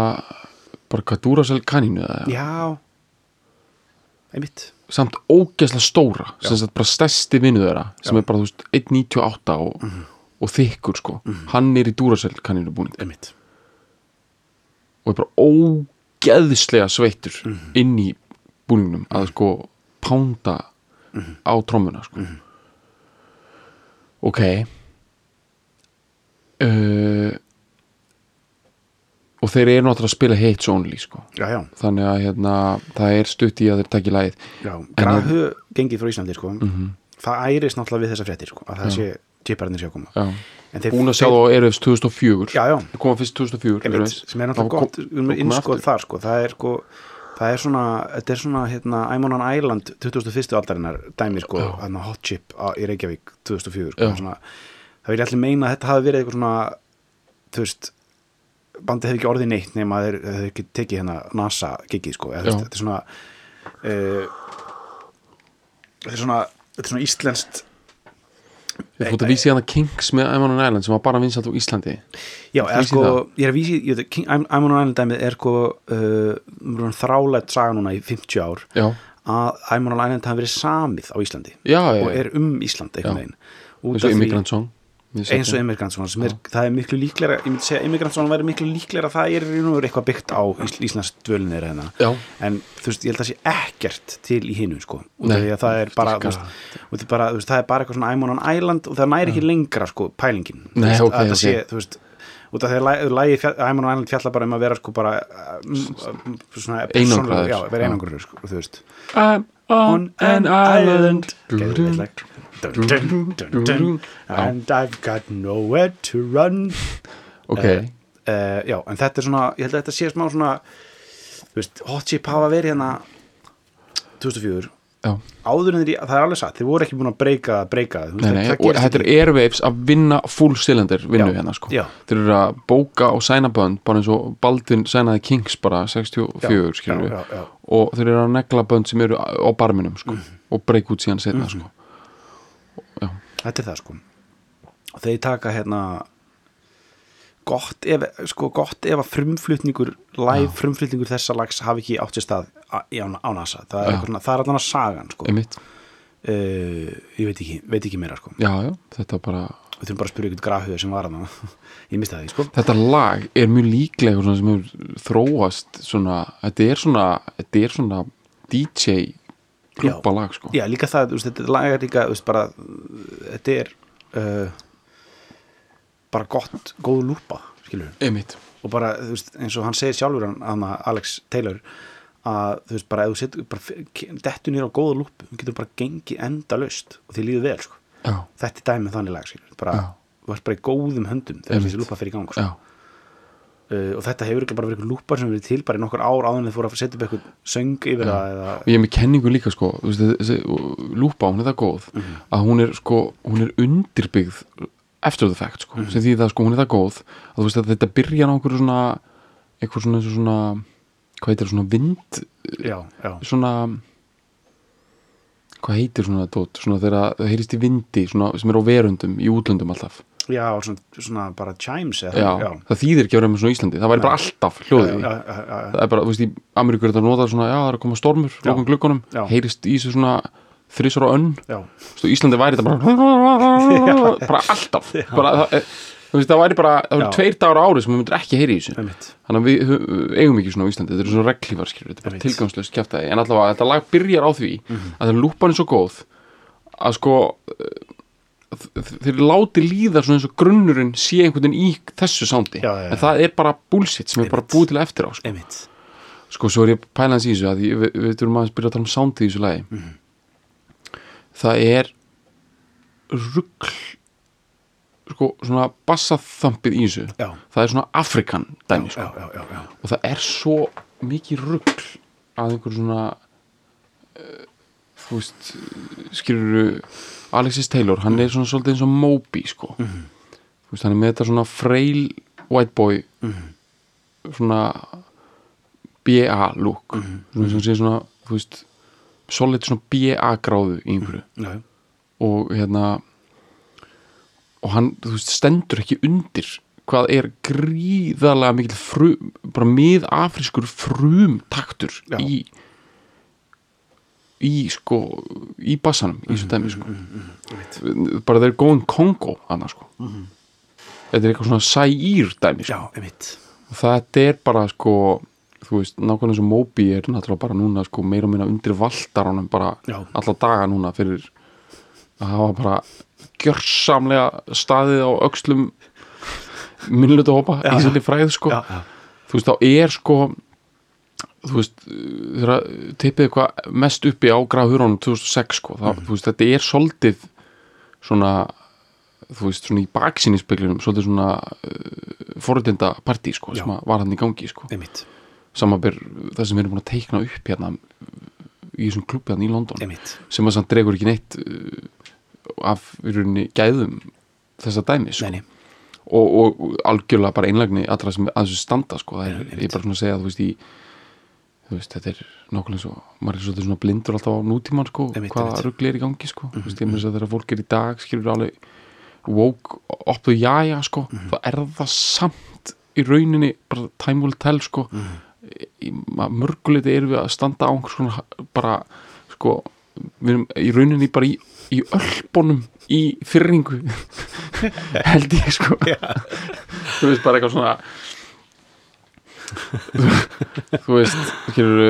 bara hvað dúra kanínu eða
já, einmitt
samt ógeðslega stóra sem sagt bara stærsti vinnu þeirra sem er bara þú veist 1.98 og,
Mhm.
og þykkur sko hann er í Duracell kanninu
einmitt
og er bara ógeðslega sveittur
Mhm.
inn í búningnum að sko pánda
Mhm.
á trommuna sko ok uh, og þeir eru náttúrulega að spila Hates Only sko
já, já,
þannig að hérna, það er stutt í að þeir takki lagið
já,
En Mhm.
grafu gengið frá Íslandi sko það ærist náttúrulega við þessa fréttir sko, að það sé tjipararnir sé að koma
já.
En þeir-
búin að sjá það á Erefs 2004
já, já,
þeir koma fyrst 2004
einmitt,
Airwaves.
sem er
Þá
náttúrulega
kom-
gott um
þá komum við
innskot
aftur.
þar sko, það er sko það er svona, þetta er svona hérna, I'm on an Island 2001. aldarinnar dæmi sko, hérna hot chip á, í Reykjavík 2004 sko,
Já.
svona, það vil ég allir meina að þetta hafi verið eitthvað svona þú veist bandið hefði ekki orðið neitt nema að þeir þeir hefði ekki tekið hérna NASA gigið sko, eða, þú veist,
Já.
þetta er svona uh, þetta er svona þetta er svona íslenskt
Ég fótt að vísi hérna Kings með Æman on Island sem var bara vinsalt á Íslandi
Já,
Þú
er
vísir
sko,
það?
ég er að vísi ég, veit að King, I'm, I'm on an Island dæmið er sko uh, þrálætt saga núna í 50 ár
já,
að I'm on an Island hafi verið samið á Íslandi
já, já,
og
já.
er um Ísland einhvern
Já.
veginn
eins og Immigrant Song Ég sé
eins og
það.
Emigrantsson sem er, það er miklu líklega ég myndi segja Emigrantsson væri miklu líklega að það er í raun og veru eitthvað byggt á Ís- Íslands dvölinir hérna
Já.
en þú veist, ég held að sé ekkert til í hinu sko, út
Nei,
af því að það er bara,
sterkara.
þú veist, út af því bara þú veist, það er bara eitthvað svona I'm on an island og það næri ekki lengra sko, pælingin Þú
Mm. Nei,
veist,
ok, ok.
að það sé, þú veist út af því að lagi- lagi fjall- I'm on an island fjalla bara um að vera sko bara mm, mm, svona
Einangraður.
persónulegur- já,
Já.
vera einangraður sko, þú veist
I'm on an island
Geðveikt lag. Dun, dun, dun, dun. And I've got nowhere to run
ok,
uh, Já, en þetta er svona Ég held að þetta sé smá svona Þú veist, hot chip hafa verið hérna 2004
já
Áður en þeir, það er alveg satt, þeir voru ekki búin að breyka breyka, þú veist,
Nei, nei,
það
og
gerist
þetta er e-
ekki.
Airwaves að vinna full cylinder vinnu
Já,
hérna sko
já.
þeir eru að bóka og sæna bönd bara eins og Baldin sænaði Kings bara 64
já,
skilur við
já, Mhm. já.
og þeir eru að negla bönd sem eru á á barminum sko og breyk út síðan
Mhm.
setna sko
Þetta er það sko og þeir taka hérna gott ef, sko, gott ef að frumflutningur live frumflutningur þessa lags hafi ekki átt sér stað á, á NASA, það er,
Já.
eitthvað svona, það er allan að sagan sko.
einmitt,
uh, ég veit ekki, veit ekki meira sko.
já, já, þetta er bara
við þurfum bara að spyrja ykkur grafiður sem var hann ég misti það því sko.
þetta lag er mjög líklega eitthvað svona sem hefur þróast svona, þetta er svona, þetta er svona DJ klubba lag sko
já, líka það, þú veist, þetta lagar líka þú veist, bara, þetta er uh, bara gott, góð lúpa skilur,
einmitt,
og bara, þú veist, eins og hann segir sjálfur hann, hann Alex Taylor að þú veist, bara, ef þú setur bara dettu nýra á góða lúpu, þú getur bara gengið endalaust og því líður vel, sko
já,
þetta er dæmið þannig lag, skilur, bara
Já.
þú varst bara í góðum höndum þegar
Einmitt.
þessi lúpa fyrir í gang, sko
já,
uh, og þetta hefur ekki bara verið eitthvað lúpar sem verið til bara í nokkur ár áður en þið fóru að setja upp eitthvað söng yfir það eða
og ég er með kenningu líka sko þú veist, þessi og lúpa, hún er það góð
Mhm.
að hún er sko, hún er undirbyggð after the fact sko,
Mhm.
sem því það sko hún er það góð, að þú veist að þetta byrja á einhverju svona, einhver svona, eins og svona hvað heitir svona vind
já, já,
svona hvað heitir svona dót svona þegar það heyrist í vindi svona, sem er á verundum í útlöndum alltaf
já, svona, svona bara chimes eða,
já,
já,
það þýðir ekki að vera með svona á Íslandi það væri bara alltaf
já,
hljóðið í.
já, já, já,
það er bara, þú veist, í Ameríku er þetta notað svona já, það er að koma stormur, lókum glukkunum
Já.
heyrist í þessu svona þrisar og önn
já,
Þú veist, á Íslandi væri þetta bara bara alltaf bara, það, eh, þú veist, það væri bara, það
Já.
væri tveir dagar á ári sem við myndir ekki heyri í þessu
einmitt
þannig að við hö- eigum ekki svona á Íslandi þetta eru svona reglífar skilur, þetta er bara
Einmitt. Mhm.
tilgangslöst kjæftæði en allavega þetta lag byrjar á því að það lúpan er svo góð að sko eh, þ- þeir láti líða svona eins og grunnurinn sé einhvern veginn í þessu sándi
Já, já, já.
en það er bara bullshit sem er bara
Einmitt.
búið til eftir á sko.
einmitt,
sko, svo er ég pælans í þessu að ég, við, við þurfum að byrja að tala um sándi í þessu lagi
Mhm.
það er ruggl sko, svona bassaþampið í þessu
Já.
það er svona afrikan dæmi sko
já, já, já, já,
og það er svo mikið rugl að einhver svona uh, þú veist skilur Alexis Taylor, hann er svona svolítið eins og Moby sko þú veist, hann er með þetta svona frail white boy svona BA look svona sem sé svona, þú veist solid svona BA gráðu í einhverju
já, já.
og hérna og hann, þú veist, stendur ekki undir hvað er gríðarlega mikil frum, bara miðafrískur frum taktur
Já.
í í sko, í bassanum í þessu dæmi sko bara þeir góðan Kongo annars sko þetta er eitthvað svona sæýr dæmi sko.
já, einmitt
og þetta er bara sko þú veist, nákvæmlega eins og Moby er náttúrulega bara núna sko meira og minna undir valdaranum bara
Já.
alla daga núna fyrir að hafa bara gjörsamlega staðið á öxlum minnlutu hópa í sinni fræð sko
já, já.
þú veist, þá er sko þú veist, þegar tippið eitthvað mest uppi á gráðhurunum 2006 sko, þá,
Mhm.
þú veist, þetta er soldið svona þú veist, svona í baksinnispeglinum svolítið svona uh, forröndinda partí sko,
Já.
sem að var hann í gangi sko
einmitt,
samanber það sem við erum búin að teikna upp hérna í þessum klubbi hann í London
einmitt
sem að samt dregur ekki neitt uh, af í rauninni gæðum þessa dæmi sko
Neini,
og, og algjörlega bara einlagni allra sem að þessu standa sko. það er, ég er bara svona að segja þú veist, í, þú veist þetta er nákvæmlega svo maður er svolítið svona blindur alltaf á nútíman sko,
Einmitt,
hvaða
einmitt. Mhm,
ruggli er í gangi sko. þú veist, ég með þess að þegar fólk er í dag skilur alveg woke oppu jæja sko,
Mhm.
þá er það samt í rauninni bara time will tell sko. mm
Mhm.
-hmm. mörguleiti erum við að standa á einhvers konar ha- bara sko við erum í rauninni bara í, í ölbónum í fyrringu held ég sko þú veist bara eitthvað svona þú veist skilur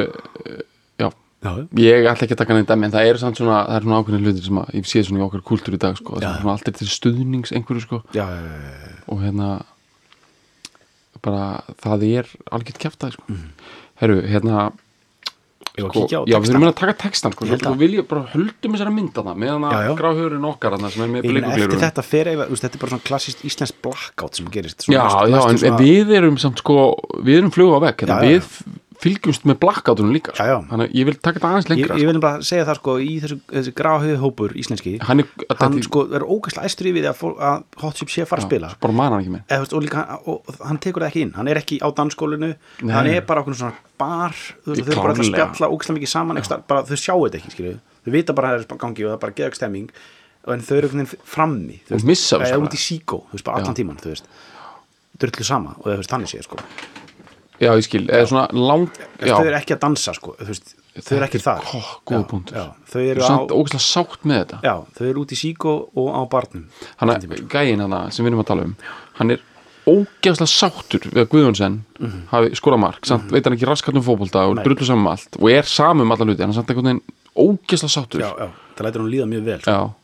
já,
já,
ég ætla ekki að taka neitt dæmi en það eru samt svona, það eru svona ákveðin hlutir sem að ég sé svona í okkar kultúr í dag sko, það
Já,
er
já.
svona allt er til stuðnings einhverju sko
já, já, já, já.
og hérna bara það er algjört kæftæði sko herru, hérna
Mhm. Ég var að
sko,
kíkja á
já, við
textann.
erum að taka textan sko,
Ég held
sko
að-
vil ég bara höldum þessara mynda það meðan
Já, já.
að gráhjörun okkar þarna sem er með
Ég meina, eftir
bleikuglirun
þetta fer eða, þú veist, þetta er bara svona klassist íslensk blackout sem gerist
Já, já, en
næstum
við erum samt sko við erum flug á vekk, hérna,
Já, já, já.
við fylgjumst með blakkáttunum líka, sko.
Já, já.
þannig að ég vil taka þetta aðeins
ég,
lengra,
ég vil bara segja það sko í þessu, þessu gráhauð hópur íslenski
sko. hann er að
hann
þetta-
sko er ógæslega æstur yfir því að, fólk- að hot chip sé að fara að spila
Já, bara man hann ekki með
Eða, þú veist, og, líka, og, og hann tekur það ekki inn hann er ekki á dansskólinu hann er bara okkur svona bar þú veist,
Í
þau eru bara alltaf að
klárlega.
spjalla ógæslega mikið saman einhvers staðar, bara, þau sjáu þetta ekki skilju þau vita bara að það er gangi og það er bara geðug stemming og en þau eru einhvern veginn frammi þú
Og
veist,
missa sko. þessu
eða
bara.
út í síkó þú veist bara allan tíman þú veist drullu sama og þú veist þannig sé sko
Já, ég skil, eða svona lang
þau
já,
eru ekki að dansa sko þú veist, þau eru ekki þar
Ó, góða punktur
já,
Þú
þau
er
eru á
samt ógæslega sátt með þetta
já, þau eru út í síkó og á barnum
Hann er gæin hana sem við erum að tala um Hann er ógæslega sáttur við að Guðjónsen
Mhm.
hafi skorað mark samt veit hann ekki raskatum fótbolta og drullu saman um allt og er samum um alla hluti, hann er samt einhvern veginn ógæslega sáttur
já, já, það lætur hún líða mjög vel sko.
Já.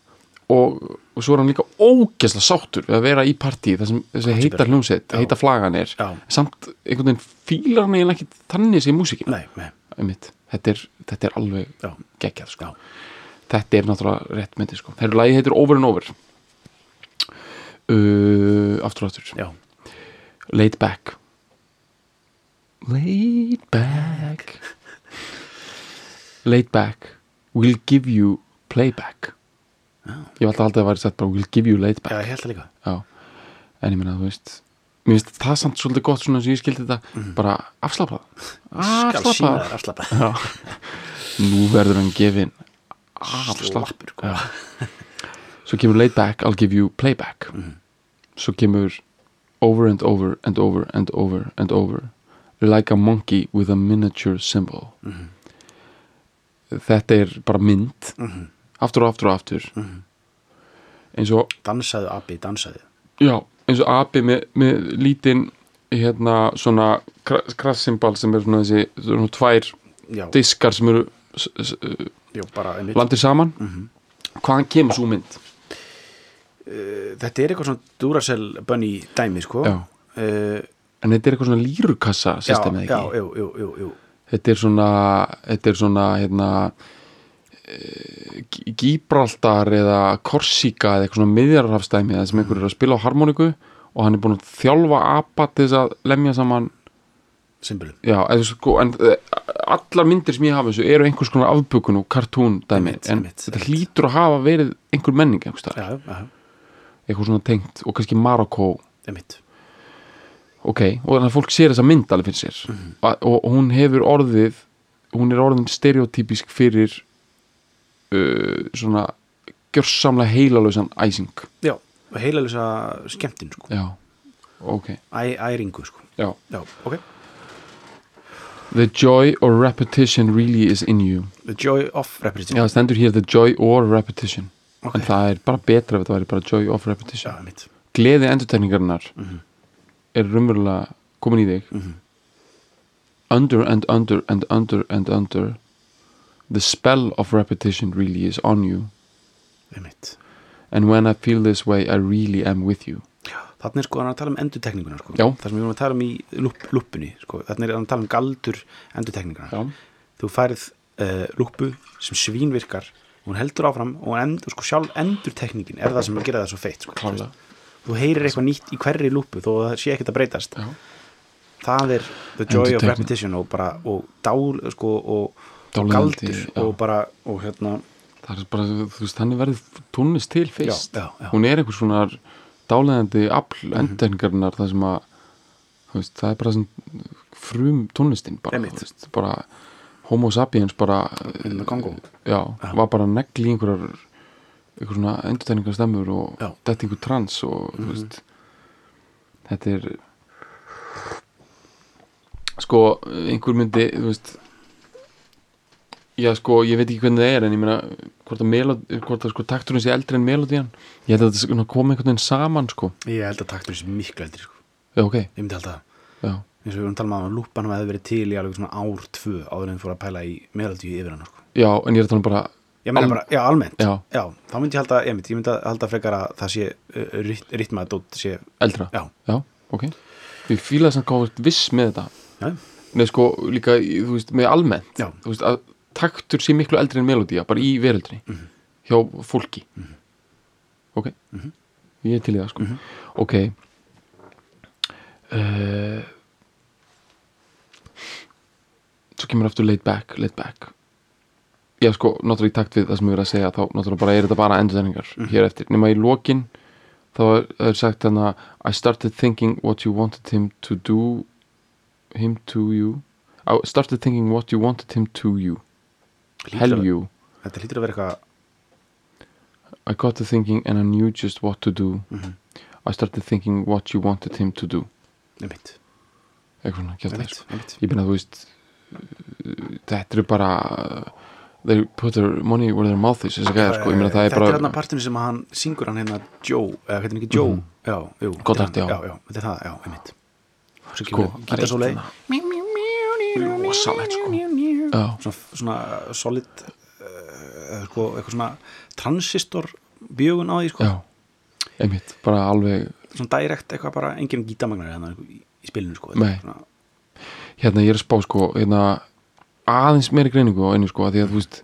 Og, og svo er hann líka ógæslega sáttur við að vera í partí þar sem þessi heita hljómsveit, heita flagan er
Já.
samt einhvern veginn fílar hann eiginlega ekki þannig sem músikin
nei, nei,
einmitt, þetta er, þetta er alveg
Já.
geggjað sko.
Já.
þetta er náttúrulega rétt myndi sko. þeirra lagi heitir Over and Over uh, aftur og aftur
já,
Laid Back Laid Back Laid Back We'll give you playback ég var alltaf haldið að það væri sett bara We'll give you laid back
já, ég held það líka
Já, en ég meina, þú veist Mér finnst það samt svolítið gott svona sem ég skildi þetta bara afslapað
Mm.
Ah,
skal sína
Afslapað
þér afslappa
Já. Nú verður hann gefin afslappur sko.
Slappur,
Já. Svo kemur laid back, I'll give you playback Svo kemur over and over and over and over and over Like a monkey with a miniature symbol Þetta er bara mynd Aftur og aftur og aftur Eins og
dansaðu abi, dansaðu
Já, eins og api með, með lítinn hérna svona krassimbal sem er svona þessi svona tvær
já,
diskar sem eru s- s- uh,
já, bara einmitt
landir saman
Mhm.
hvaðan kemur svo mynd?
Eh, þetta er eitthvað svona Duracell bunny dæmi sko
Já.
Eh,
En þetta er eitthvað svona lírukassa
já,
system eða
já,
ekki?
jú, jú, jú, jú.
Þetta er svona þetta er svona hérna eh, Gí- Gíbraltar eða Korsíka eða eitthvað svona miðjararhafstæmi það sem einhver er að
Mhm.
spila á harmoniku og hann er búin að þjálfa apa til þess að lemja saman
symbolum
Já, en, sko, en eh, allar myndir sem ég hafa þessu eru einhvers konar afbökun og kartún dæmi
Einmitt,
en
einmitt,
þetta
einmitt.
hlýtur að hafa verið einhver menning einhvers staðar.
já, já,
eitthvað svona tengt og kannski Marokko
einmitt
ok, og þannig að fólk sér þessa mynd alveg fyrir sér og, og hún hefur orðið hún er orðin stereotypísk fyrir uh, svona gjörsamlega heilalösan æsing
já, og heilalisa skemmtin sko
já, ok
Æ, æringu sko
já.
já, ok,
The joy or repetition really is in you
The joy of repetition
Já, það stendur hér the joy or repetition
Ok.
En það er bara betra ef þetta væri bara joy of repetition
Já, mitt
Gleði endurtekningarnar er raunverulega komin í þig
Mhm.
Under and under and under and under The spell of repetition really is on you
Einmitt.
And when I feel this way I really am with you
Þannig er sko hann að tala um endurtekninguna sko.
Já.
Það sem við vorum að tala um í lúpp, lúppunni sko. Þannig er hann að tala um galdur endurtekninguna
Já,
Þú færið uh, lúppu sem svínvirkar Hún heldur áfram og endur, sko, sjálf endurtekningin er það sem að gera það svo feitt sko.
klálega
Þú heyrir eitthvað nýtt í hverri lúppu þó að það sé ekkert að breytast
Já.
Það er the joy of
Endurtekning.
repetition og bara og dál sko, og, og
Dáleiðandi,
galdur
já.
og bara og hérna
Það er bara, þú veist, þannig verður tónlist til fyrst.
Já, Mhm. já, já.
Hún er einhvers svona dálæðandi afl endurningarnar það sem að, þú veist, það er bara sem frum tónlistin bara,
Einmitt.
þú veist, bara homo sapiens bara, hérna
In the Congo.
já, var bara negli í einhverjar, einhver svona endurningar stemmur og
Já. Mhm.
dætt einhver trans og, þú veist, þetta er, sko, einhver myndi, þú veist, Já, sko, ég veit ekki hvernig það er en ég meina hvort að, melod, hvort að sko, takturinn sé eldri en melodían ég held að þetta sé- komi einhvern veginn saman sko.
Ég held að taktur þessi miklu eldri sko.
já, ok,
Ég myndi held að
já,
eins og við vorum að tala um að lúpan hefði verið til í alveg svona ár tvö áður en fór að pæla í meðaldíu yfir hann sko.
já, en ég er að tala um bara
ég meina
Al-
bara, já, almennt
Já.
þá myndi ég halda, ég myndi, ég myndi halda frekar að það sé uh, rit, ritmaði dótt sé,
eldra,
já,
ok ég fíla þess að hvað viss með þetta
já,
Nei, sko, líka, í- þú veist, með almennt
Já.
þú veist, að taktur sé miklu eldri en melodía bara í veröldri hjá fólki ok ég er til í það, sko ok uh, svo kemur aftur laid back, laid back já, sko, náttúrulega í takt við það sem ég verið að segja þá náttúrulega bara er þetta bara endurðningar hér eftir, nema í lokin þá er, er sagt þannig I started thinking what you wanted him to do him to you I started thinking what you wanted him to you
Hlýtur
Hell
að-
you
þetta hlýtur að vera eitthvað
I got to thinking and I knew just what to do I started thinking what you wanted him to do
einmitt,
eitthvað svona, kjátt
einmitt, einmitt
ég meina þú veist uh, þetta eru bara uh, they put their money where their mouth is þess að gæða sko, ég meina það er
Eh, þetta er hann
bara
að partinu sem að hann syngur hann hérna Joe, eða hérna ekki Joe já, jú, þetta er
Goddard,
hann,
Mhm. já.
já, já, þetta er það, já, einmitt svo
sko,
kemur
það er eitt
gítasólei
þarna. rosalegt sko já,
svona, svona solid uh, sko, eitthvað svona transistor bjögun á því sko.
já, einmitt bara alveg,
svona direkt eitthvað bara engin gítamagnar hérna í, í spilinu sko.
Nei.
svona,
hérna ég er að spá sko hérna, aðeins meiri greiningu á einu sko, af því að þú veist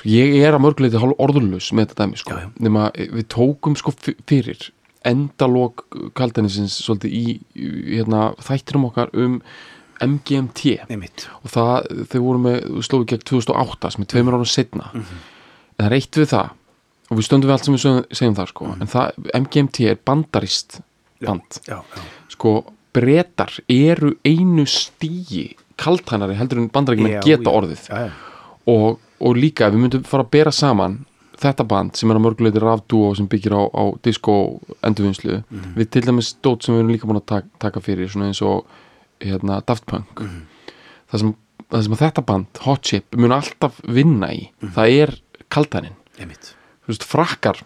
sko, ég er að mörguleiti hálf orðurlaus með þetta dæmi sko,
Já, já.
nema við tókum sko f- fyrir endalok kaldanisins svolítið í hérna, þættinum okkar um MGMT
einmitt
og það, þau voru með slóðu gegn 2008 sem er tveimur ára setna
Mhm.
en það er eitt við það og við stöndum við allt sem við sögum- segjum það sko en það, MGMT er bandarist band
Mhm. já, já,
sko brettar eru einu stíi kaltænari heldur en bandarækjumenn
Já,
geta
já.
orðið
já, já.
og, og líka ef við myndum fara að bera saman þetta band sem er að mörguleiti rafdúo sem byggir á, á disco endurvinnslu
Mhm.
við til dæmis dót sem við erum líka búin að tak, taka fyrir svona eins og hérna, Daft Punk
Mhm.
það, sem, það sem að þetta band, Hot Chip mun alltaf vinna í,
Mhm.
það er kaltænin
einmitt
þú veist, frakkar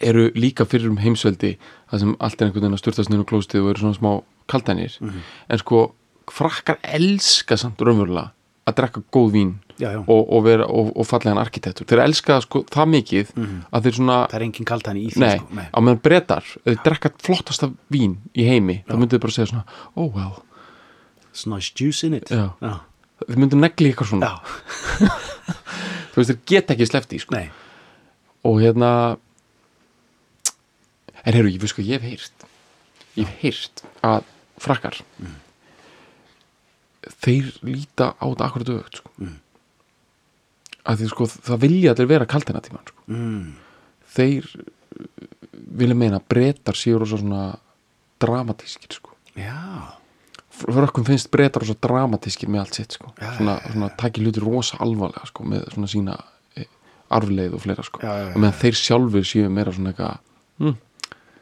eru líka fyrir um heimsveldi það sem allt er einhvern veginn að styrtast niður á klóstið og eru svona smá kaldanir
Mhm.
en sko, frakkar elska samt raunverulega að drekka góð vín
já, já.
og, og, vera, og, og fallegan arkitektur þeir elska sko, það mikið að þeir svona,
Mhm. það er engin kaltæni í því
nei,
sko. nei.
á meðan bretar ef þeir drekka flottasta vín í heimi þá myndu þeir bara segja svona, oh well
It's nice juice in it
Já.
Já.
þeir myndu negli eitthvað svona,
Já.
þú veist, þeir geta ekki slefti sko.
Nei.
og hérna en heyrðu, ég veist hvað ég hef heyrt ég hef heyrt að frakkar þeir líta á þetta akkurat auðvögt sko. mm. að því sko það vilja allir vera kaldina tíma sko.
Mm.
þeir uh, vilja meina að breytar séu rosa svona dramatískir sko
já,
frökkum finnst breytar rosa dramatískir með allt sitt sko
Já,
svona, svona takir hluti rosa alvarlega sko með svona sína eh, arfleið og fleira sko
Já, já, Hm. já.
og meðan þeir sjálfur séu meira svona eitthvað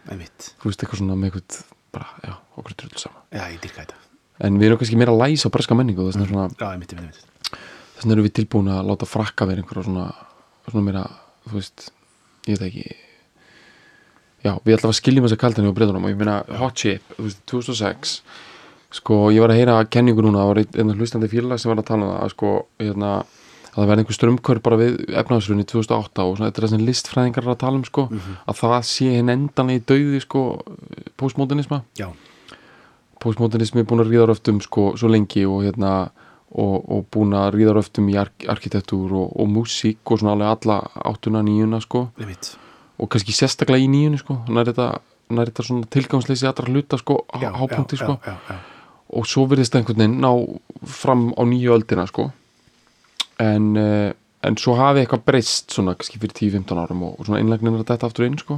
einmitt
þú veist eitthvað svona með eitthvað bara, já, okkur er trull saman
já, ég dyrka þetta
en við erum kannski meira læs á breska menningu þess vegna svona,
Já, ég myndi, myndi,
þess vegna erum við tilbúin að láta frakka vera einhverja svona, svona meira, þú veist ég veit það ekki já, við allavega skiljum þess að um kaldan hérna hjá breyðunum og ég meina Hot Chip, þú veist, 2006 sko, ég var að heyra kenningu núna það var einn- einn hlustandi félag sem var að tala um það að sko, hérna, að það verði einhver strömmkör bara við efnaðsrunni 2008 og svona, þetta er það sem listfræðingar eru að tala um sko, að það sé hinn endanlega í dauði sko, postmodernisma
já,
postmodernismi er búin að ríða röftum sko, svo lengi og hérna og, og búin að ríða röftum í ark arkitektúr og, og músík og svona alveg alla áttuna nýjuna sko
ég myndi
og kannski sérstaklega í nýjunu sko nær þetta, nær þetta svona tilgangsleysi allra hluta sko,
Já,
á hápunkti
já,
sko
já, já, já.
og svo virðist það einhvern veginn ná fram á nýju öldina sko en, uh, en svo hafi eitthvað breyst svona kannski fyrir 10-15 árum og, og svona innlagnin er að detta aftur inn sko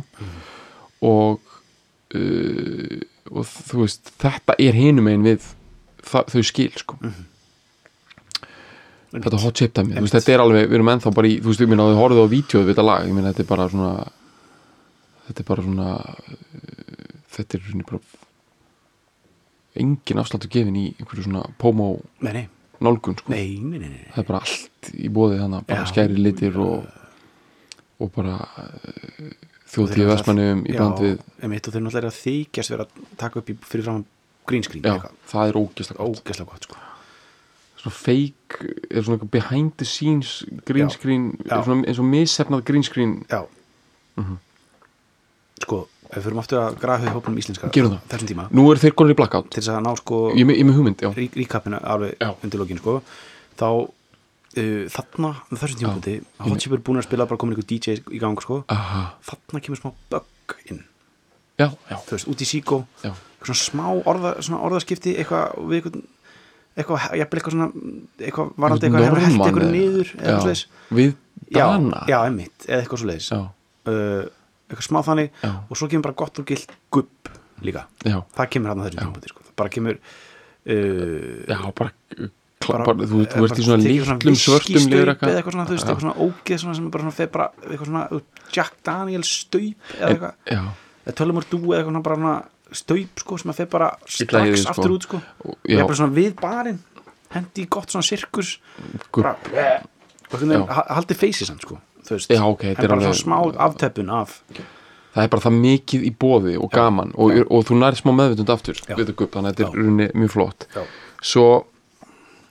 og uh, og þú veist þetta er hinum einn við það, þau skil sko þetta hot shape dæmi, þú veist þetta er alveg við erum ennþá bara í, þú veist, ég meina að þau horfðu á vídeo við þetta lag, ég meina þetta er bara svona þetta er bara svona uh, þetta er svona bara engin afsláttu gefin í einhverju svona pomo
Nei, nei,
nálgun sko.
nei, nei, nei, nei.
það er bara allt í bóði þannig bara
Já.
skæri litir og, og bara þjóðtíu
Þeir eru
vestmannum í
það-
bland
já,
við
einmitt, og þeir náttúrulega eru að þykjast vera að taka upp í fyrir fram green screen
já,
eitthvað.
það er ógæslega gott
ógeðslega gott sko.
svona fake, er svona eitthvað behind the scenes green
Já.
screen,
Já.
er svona eins og missefnað green screen
já
Mhm.
sko, ef við fyrir aftur að grafa höfðu hópunum íslenska
Gerum það.
þessum tíma
nú er þeir konur í blackout
til þess að ná sko
ég er með- ég er með hugmynd, já,
rík, ríkappina alveg
Já.
undir lokin sko þá uh, þarna, á þessum tímapunkti Hotchip er búin að spila bara komin einhver DJ í gang sko
Aha.
þarna kemur smá bögg inn
já, já,
þú veist, út í síkó
já.
eitthvað svona smá orða, svona orðaskipti eitthvað við eitthvað eitthvað, jafnvel eitthvað svona eitthvað varandi eitthvað hefur held
Norðmann
eitthvað
eða-
niður eða eitthvað
já,
svoleiðis.
við
já,
Dana
já, einmitt, eða eitthvað svo leiðis uh,
já,
eitthvað smá þannig
Já.
og svo kemur bara gott og gilt gubb líka,
já.
það kemur hann að þessum tímpúti sko. bara kemur uh,
já bara, eh, bara,
bara-
bara þú,
eh,
þú ert í svona
tekið svona
litlum svörtum
viskistaup
liðrakka.
eða eitthvað svona, þú veist, eitthvað svona ógeð svona sem bara svona fer bara, eitthvað svona uh, Jack Daniel staup eða eitthvað,
já,
eða tölumur dú eða eitthvað svona bara svona staup sko, sem að fer bara
Illa í
strax
því, sko.
aftur út sko,
Og-
ég
já.
er bara svona við barinn hendi í gott svona sirkus
Gubb.
bara bleh, og hvernig
Já.
haldi feysi sann sko, þú veist,
Já, ok, þetta
en
er
bara
alveg-
svona smá aftöpun af
það er bara það mikið í bóði og gaman og, og, þú nærið smá meðvitund aftur
Já.
við þetta gupp, þannig að þetta
Já.
er runni mjög flott
Já.
svo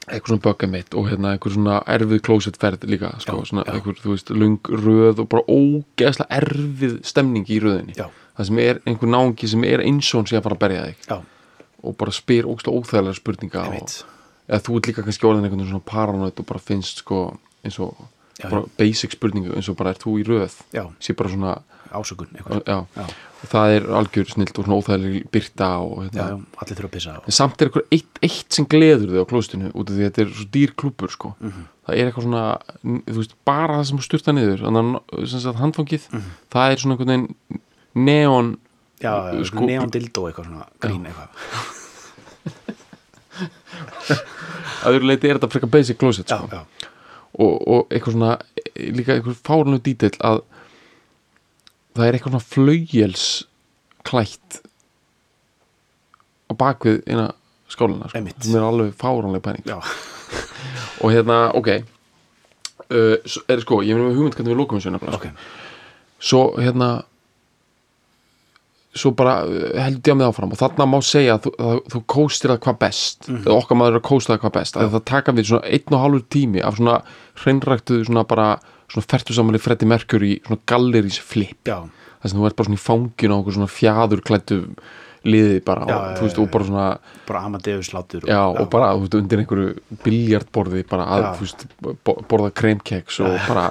eitthvað svona bugga mitt og hérna eitthvað svona erfið klósettferð líka sko, svona eitthvað, þú veist, lung röð og bara ógeðslega erfið stemning í röðinni
Já.
það sem er einhver náungi sem er einsón sem að fara að berja þig
já,
og bara spyr ógeðslega óþægilega spurninga og,
Einmitt.
eða þú ert líka kannski orðin einhvern veginn svona paranoid og bara finnst sko eins og
Já,
bara basic spurningu eins og bara er þú í röð
Já.
sé bara svona
ásökun eitthvað,
já,
Já.
Og það er algjör snilt og svona óþægileg byrta og
já,
hérna.
já, allir þurfa að pissa og,
en samt er eitthvað eitt, eitt sem gleður þau á klóstinu út af því að þetta er svo dýr klúpur sko.
Mhm.
það er eitthvað svona n- þú veist, bara það sem styrta niður þannig að sem sagt, handfangið
Mhm.
það er svona einhvern veginn neon
já, já,
Sko-
sko, neon dildo eitthvað svona grín eitthvað,
öðruleiti er þetta frekar basic klóset
já,
sko.
já,
og, og eitthvað svona e, líka eitthvað fárunlega dítill að það er eitthvað svona flaujels klætt á bakvið eina skálina sko,
Einmitt.
sem er alveg fárunlega pæning
já,
og hérna, ok uh, s- er sko, ég verið með hugmynd hvernig við lókum þessu nefnilega,
ok,
sko. svo hérna svo bara uh, held ég að með áfram og þarna má segja að þú, að þú kóstir það hvað best
Mhm.
eða okkar maður er að kósta það hvað best að það taka við svona einn og hálfur tími af svona hreinræktuðu svona bara svona fertusamali Freddy Mercury svona gallerís flip
já,
þess að þú ert bara svona í fangin á okkur svona fjaður klættu liði bara
Já,
og,
já,
þú veist,
já,
og bara svona
bara Amadeus látur og-
Já, og bara, þú veist, undir einhverju biljardborði bara að,
Já.
þú veist, bo- borða kremkeks og bara,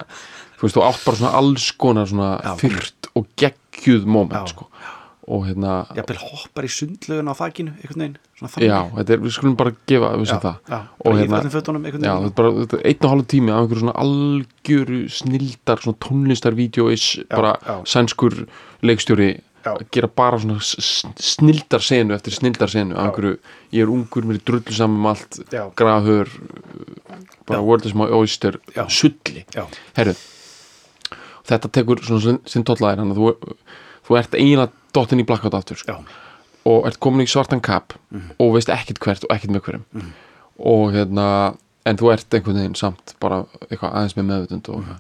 þú veist, þú átt bara svona alls konar svona
Já.
fyrt og geggjuð moment,
Já.
sko og hérna, já,
jafnvel hoppar í sundlögun á þakkinu einhvern veginn, svona
þetta er, við skulum bara gefa, við sem
Já,
það
já,
og
bara í
hérna,
öllum fötunum
já,
einhvern veginn.
þetta er bara þetta er einn og halv tími af einhverju svona algjöru snildar, svona tónlistarvídeóis bara
já.
sænskur leikstjóri
Já.
að gera bara svona s- s- snildarsenu eftir snildarsenu af einhverju, ég er ungur, mér er drullu saman um allt,
Já.
grafur bara world is my oyster
Já.
sulli,
Já.
herru þetta tekur svona sinn- sinn tollaðir hann að þú, þú ert eiginlega dottinn í blackout aftur sko.
Já,
og ert komin í svartan kap
Mhm.
og veist ekkert hvert og ekkert með hverjum og hérna en þú ert einhvern veginn samt bara eitthvað aðeins með meðvitund og
Mhm.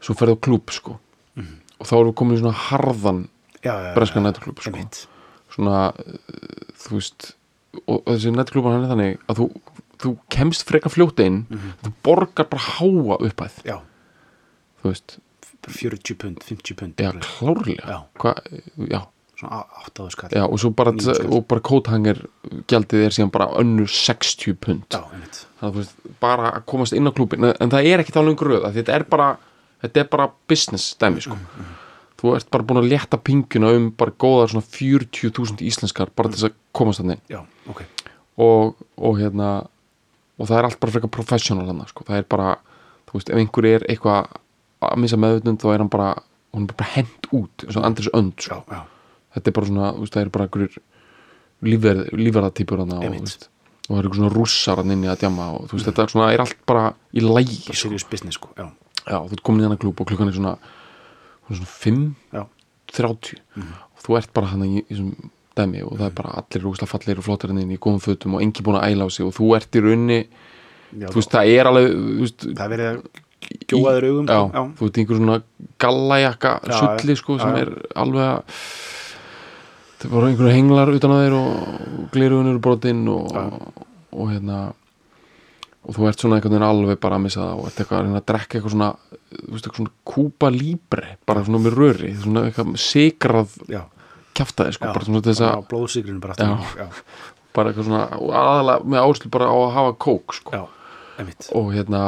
svo ferðu á klúb sko og þá erum við komin í svona harðan
já, já,
breskan
já,
næturklúbb, sko.
einmitt.
svona uh, þú veist og, og þessi nættuklúban hann er þannig að þú, þú kemst frekar fljóta inn
Mhm.
þú borgar bara háa upphæð
já,
þú veist,
40 pund, 50 pund
já
eitthvað.
klárlega
Já.
Hva, já,
svona á- áttaðu skall
já, og svo bara,
Níu skall.
og bara kóthangir gjaldið er síðan bara önnur 60 pund
já, einmitt
þannig að þú veist, bara að komast inn á klúbin en það er ekki þá lengur röð af því þetta er bara, þetta er bara business dæmi sko þú ert bara búin að létta pinguna um bara góðar svona 40.000 íslenskar bara til þess að komast þannig
já, ok,
og, og hérna og það er allt bara frekar professional hann sko. það er bara, þú veist, ef einhver er eitthvað að missa meðvutund þá er hann bara hún er bara hent út, eins og Andris Önd
já,
sko.
já,
þetta er bara svona, þú veist, það er bara einhverjur lífverðatýpur hann og,
Einmitt.
þú veist, og það eru einhver svona rússar hann inni að djama og þú veist, þetta er svona, er allt bara í lægi, sko.
bara serious business sko já,
já, þú ert komin í hann klúb og klukkan er svona, hún er svona 5
já,
30 og þú ert bara hann í, í þessum dæmi og það er bara allir rúslega fallir og flottir henni í góðum fötum og engi búin að æla á sig og þú ert í raunni,
já
þú veist, það er alveg þú veist,
það er verið að gjóa þér augum
já,
sko, já,
þú veist, einhver svona gallajakka
Já,
sulli,
já,
sko,
já,
sem
já.
er alveg að það er bara einhverju henglar utan að þeir og gleruðun eru brotinn og, og, hérna og þú ert svona einhvern veginn alveg bara að missa það og ert eitthvað að reyna að drekka eitthvað svona þú veist, eitthvað svona kúpa líbre bara svona með röri, svona eitthvað sigrað
já,
kjaftaði sko,
já
bara svona til þess að
bara á blóðsigrinu bara
Já.
aftur já,
bara eitthvað svona, og aðalega með áherslu bara á að hafa kók sko,
já, einmitt
og hérna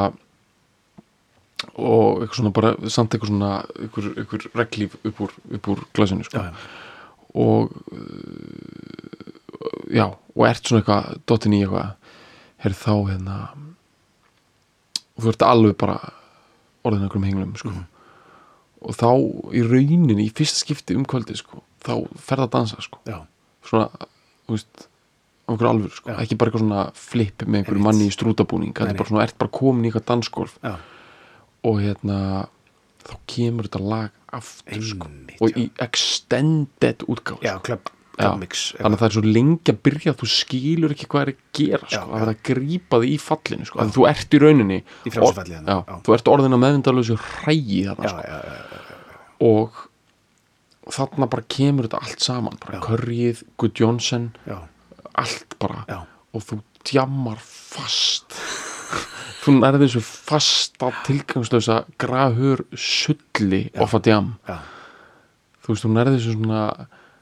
og eitthvað svona bara samt eitthvað svona, eitthvað, eitthvað reglíf upp úr, upp úr glasinu
já,
sko,
já,
og uh, já, og ert svona eitthvað dottin í eitthvað, herri þá hérna og þú ert alveg bara orðin einhverjum henglum sko og þá í rauninni, í fyrsta skipti um kvöldi sko, þá ferð að dansa sko
já,
svona, þú veist á einhverju alvöru, sko,
Já.
ekki bara eitthvað svona flip með einhverju
Einmitt.
manni í strútabúning þetta
Nei,
er bara svona, ert bara komin í eitthvað dansgolf
já,
og hérna þá kemur þetta lag aftur sko,
Einmitt,
og í extended útgáð
já, klöpp mix,
þannig að það er svo lengi að byrja að þú skilur ekki hvað er að gera sko,
Já,
að vera að grípa þig í fallinu sko, að þú ert í rauninni
Í frjálsu falli þarna,
já,
já.
þú ert orðin að meðvindalösu hrægi þarna
já,
sko,
já, já,
og þarna bara kemur þetta allt saman bara
Já.
Curryð, Good Johnson
já,
allt bara
já,
og þú djammar fast þú nærði þessu fasta tilgangslösa grafur sulli off að djam
já
þú veist, þú nærði þessu svona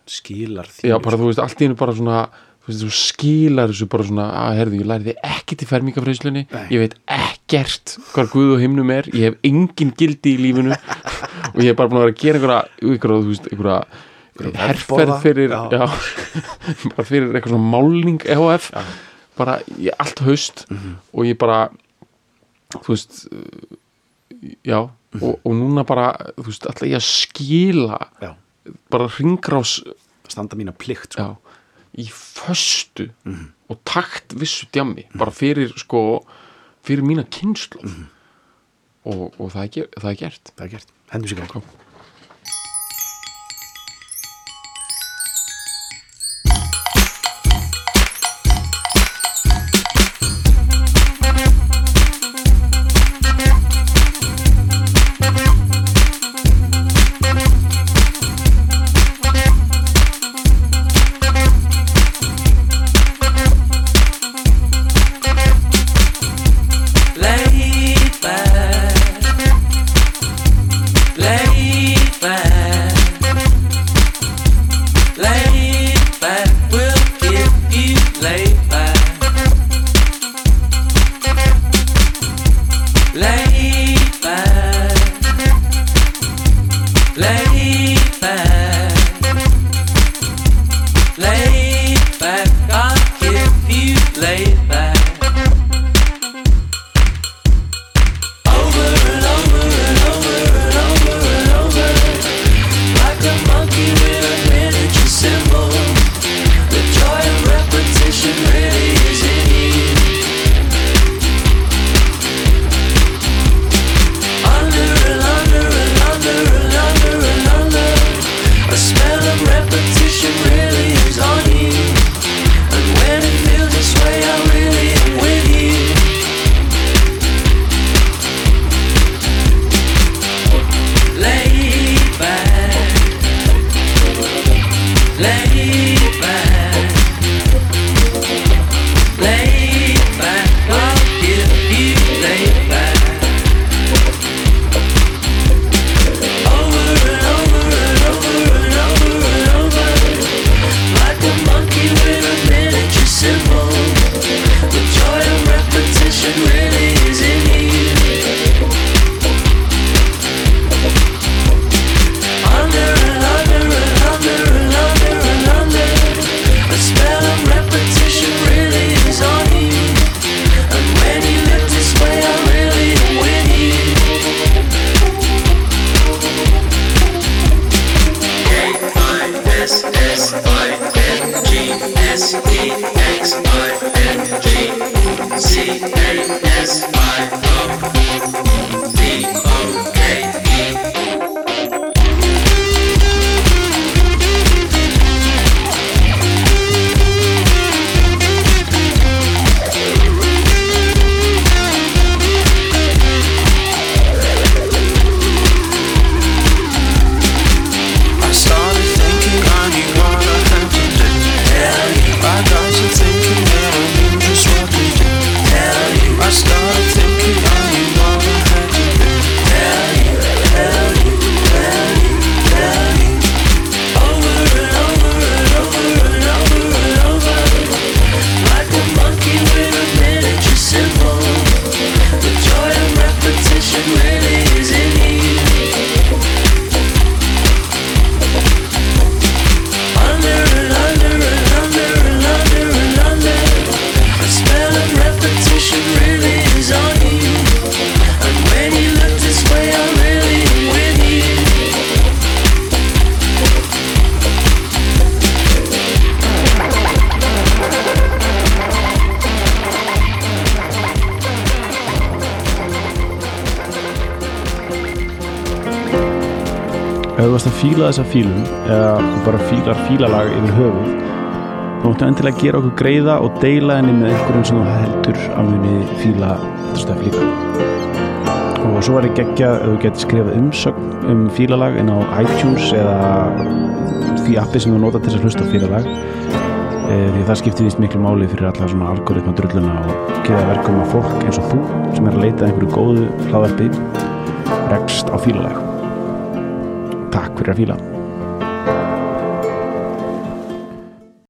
skilar því
já, bara þú veist, allt í einu bara svona þú veist, þú skilar þessu bara svona að herðu, ég læri þið ekki til fermingafreyslunni
Nei.
ég veit ekkert hvar Guð og himnum er ég hef engin gildi í lífinu og ég hef bara búin að vera að gera einhverja, einhverja þú veist, einhverja herferð
vefboða,
fyrir
já.
já. bara fyrir eitthvað svona málning EHF bara ég, allt haust og ég bara þú veist uh, já, og, og núna bara þú veist, alltaf ég að skila
já,
bara hringrás
standa mína plikt sko.
já, í föstu og takt vissu djammi bara fyrir sko fyrir mína kynslu og, og það, er, ge- það er gert
það er gert, hendum sér gang
Lay back, lay back, lay back. We'll give you lay back, lay back, lay back, lay back. I'll give you lay back. Like a monkey with a miniature symbol. The joy of repetition really is in you. Under and under and under and under and under. The smell of repetition really is on you. repetition really is on you. And when you look this way, I really am with you.
I started thinking I knew what I had to do. Tell you. I got to thinking that I knew just what to do. Tell you. I started thinking I knew what I had to do.
Like a monkey with a miniature symbol. The joy of repetition really is in you. Under and under and under and under and under. The spell of repetition really is on you. And when you look this way, I really am with you.
Ef þú varst að fíla þessa fílun eða þú bara fílar fílalag yfir höfuð þá máttu endilega gera okkur greiða og deila henni með einhverjum sem þú heldur að muni fíla þetta stöf líka og svo er ég geggja ef þú getur skrifað umsögn um fílalag inn á iTunes eða því appi sem þú nota til þess að hlusta á fílalag Eh, því það skiptir nýst miklu máli fyrir alla svona algoritma drulluna og geða verkum að fólk eins og þú sem er að leita að einhverju góðu hlaðarpi rekst á fílalag Takk fyrir að fíla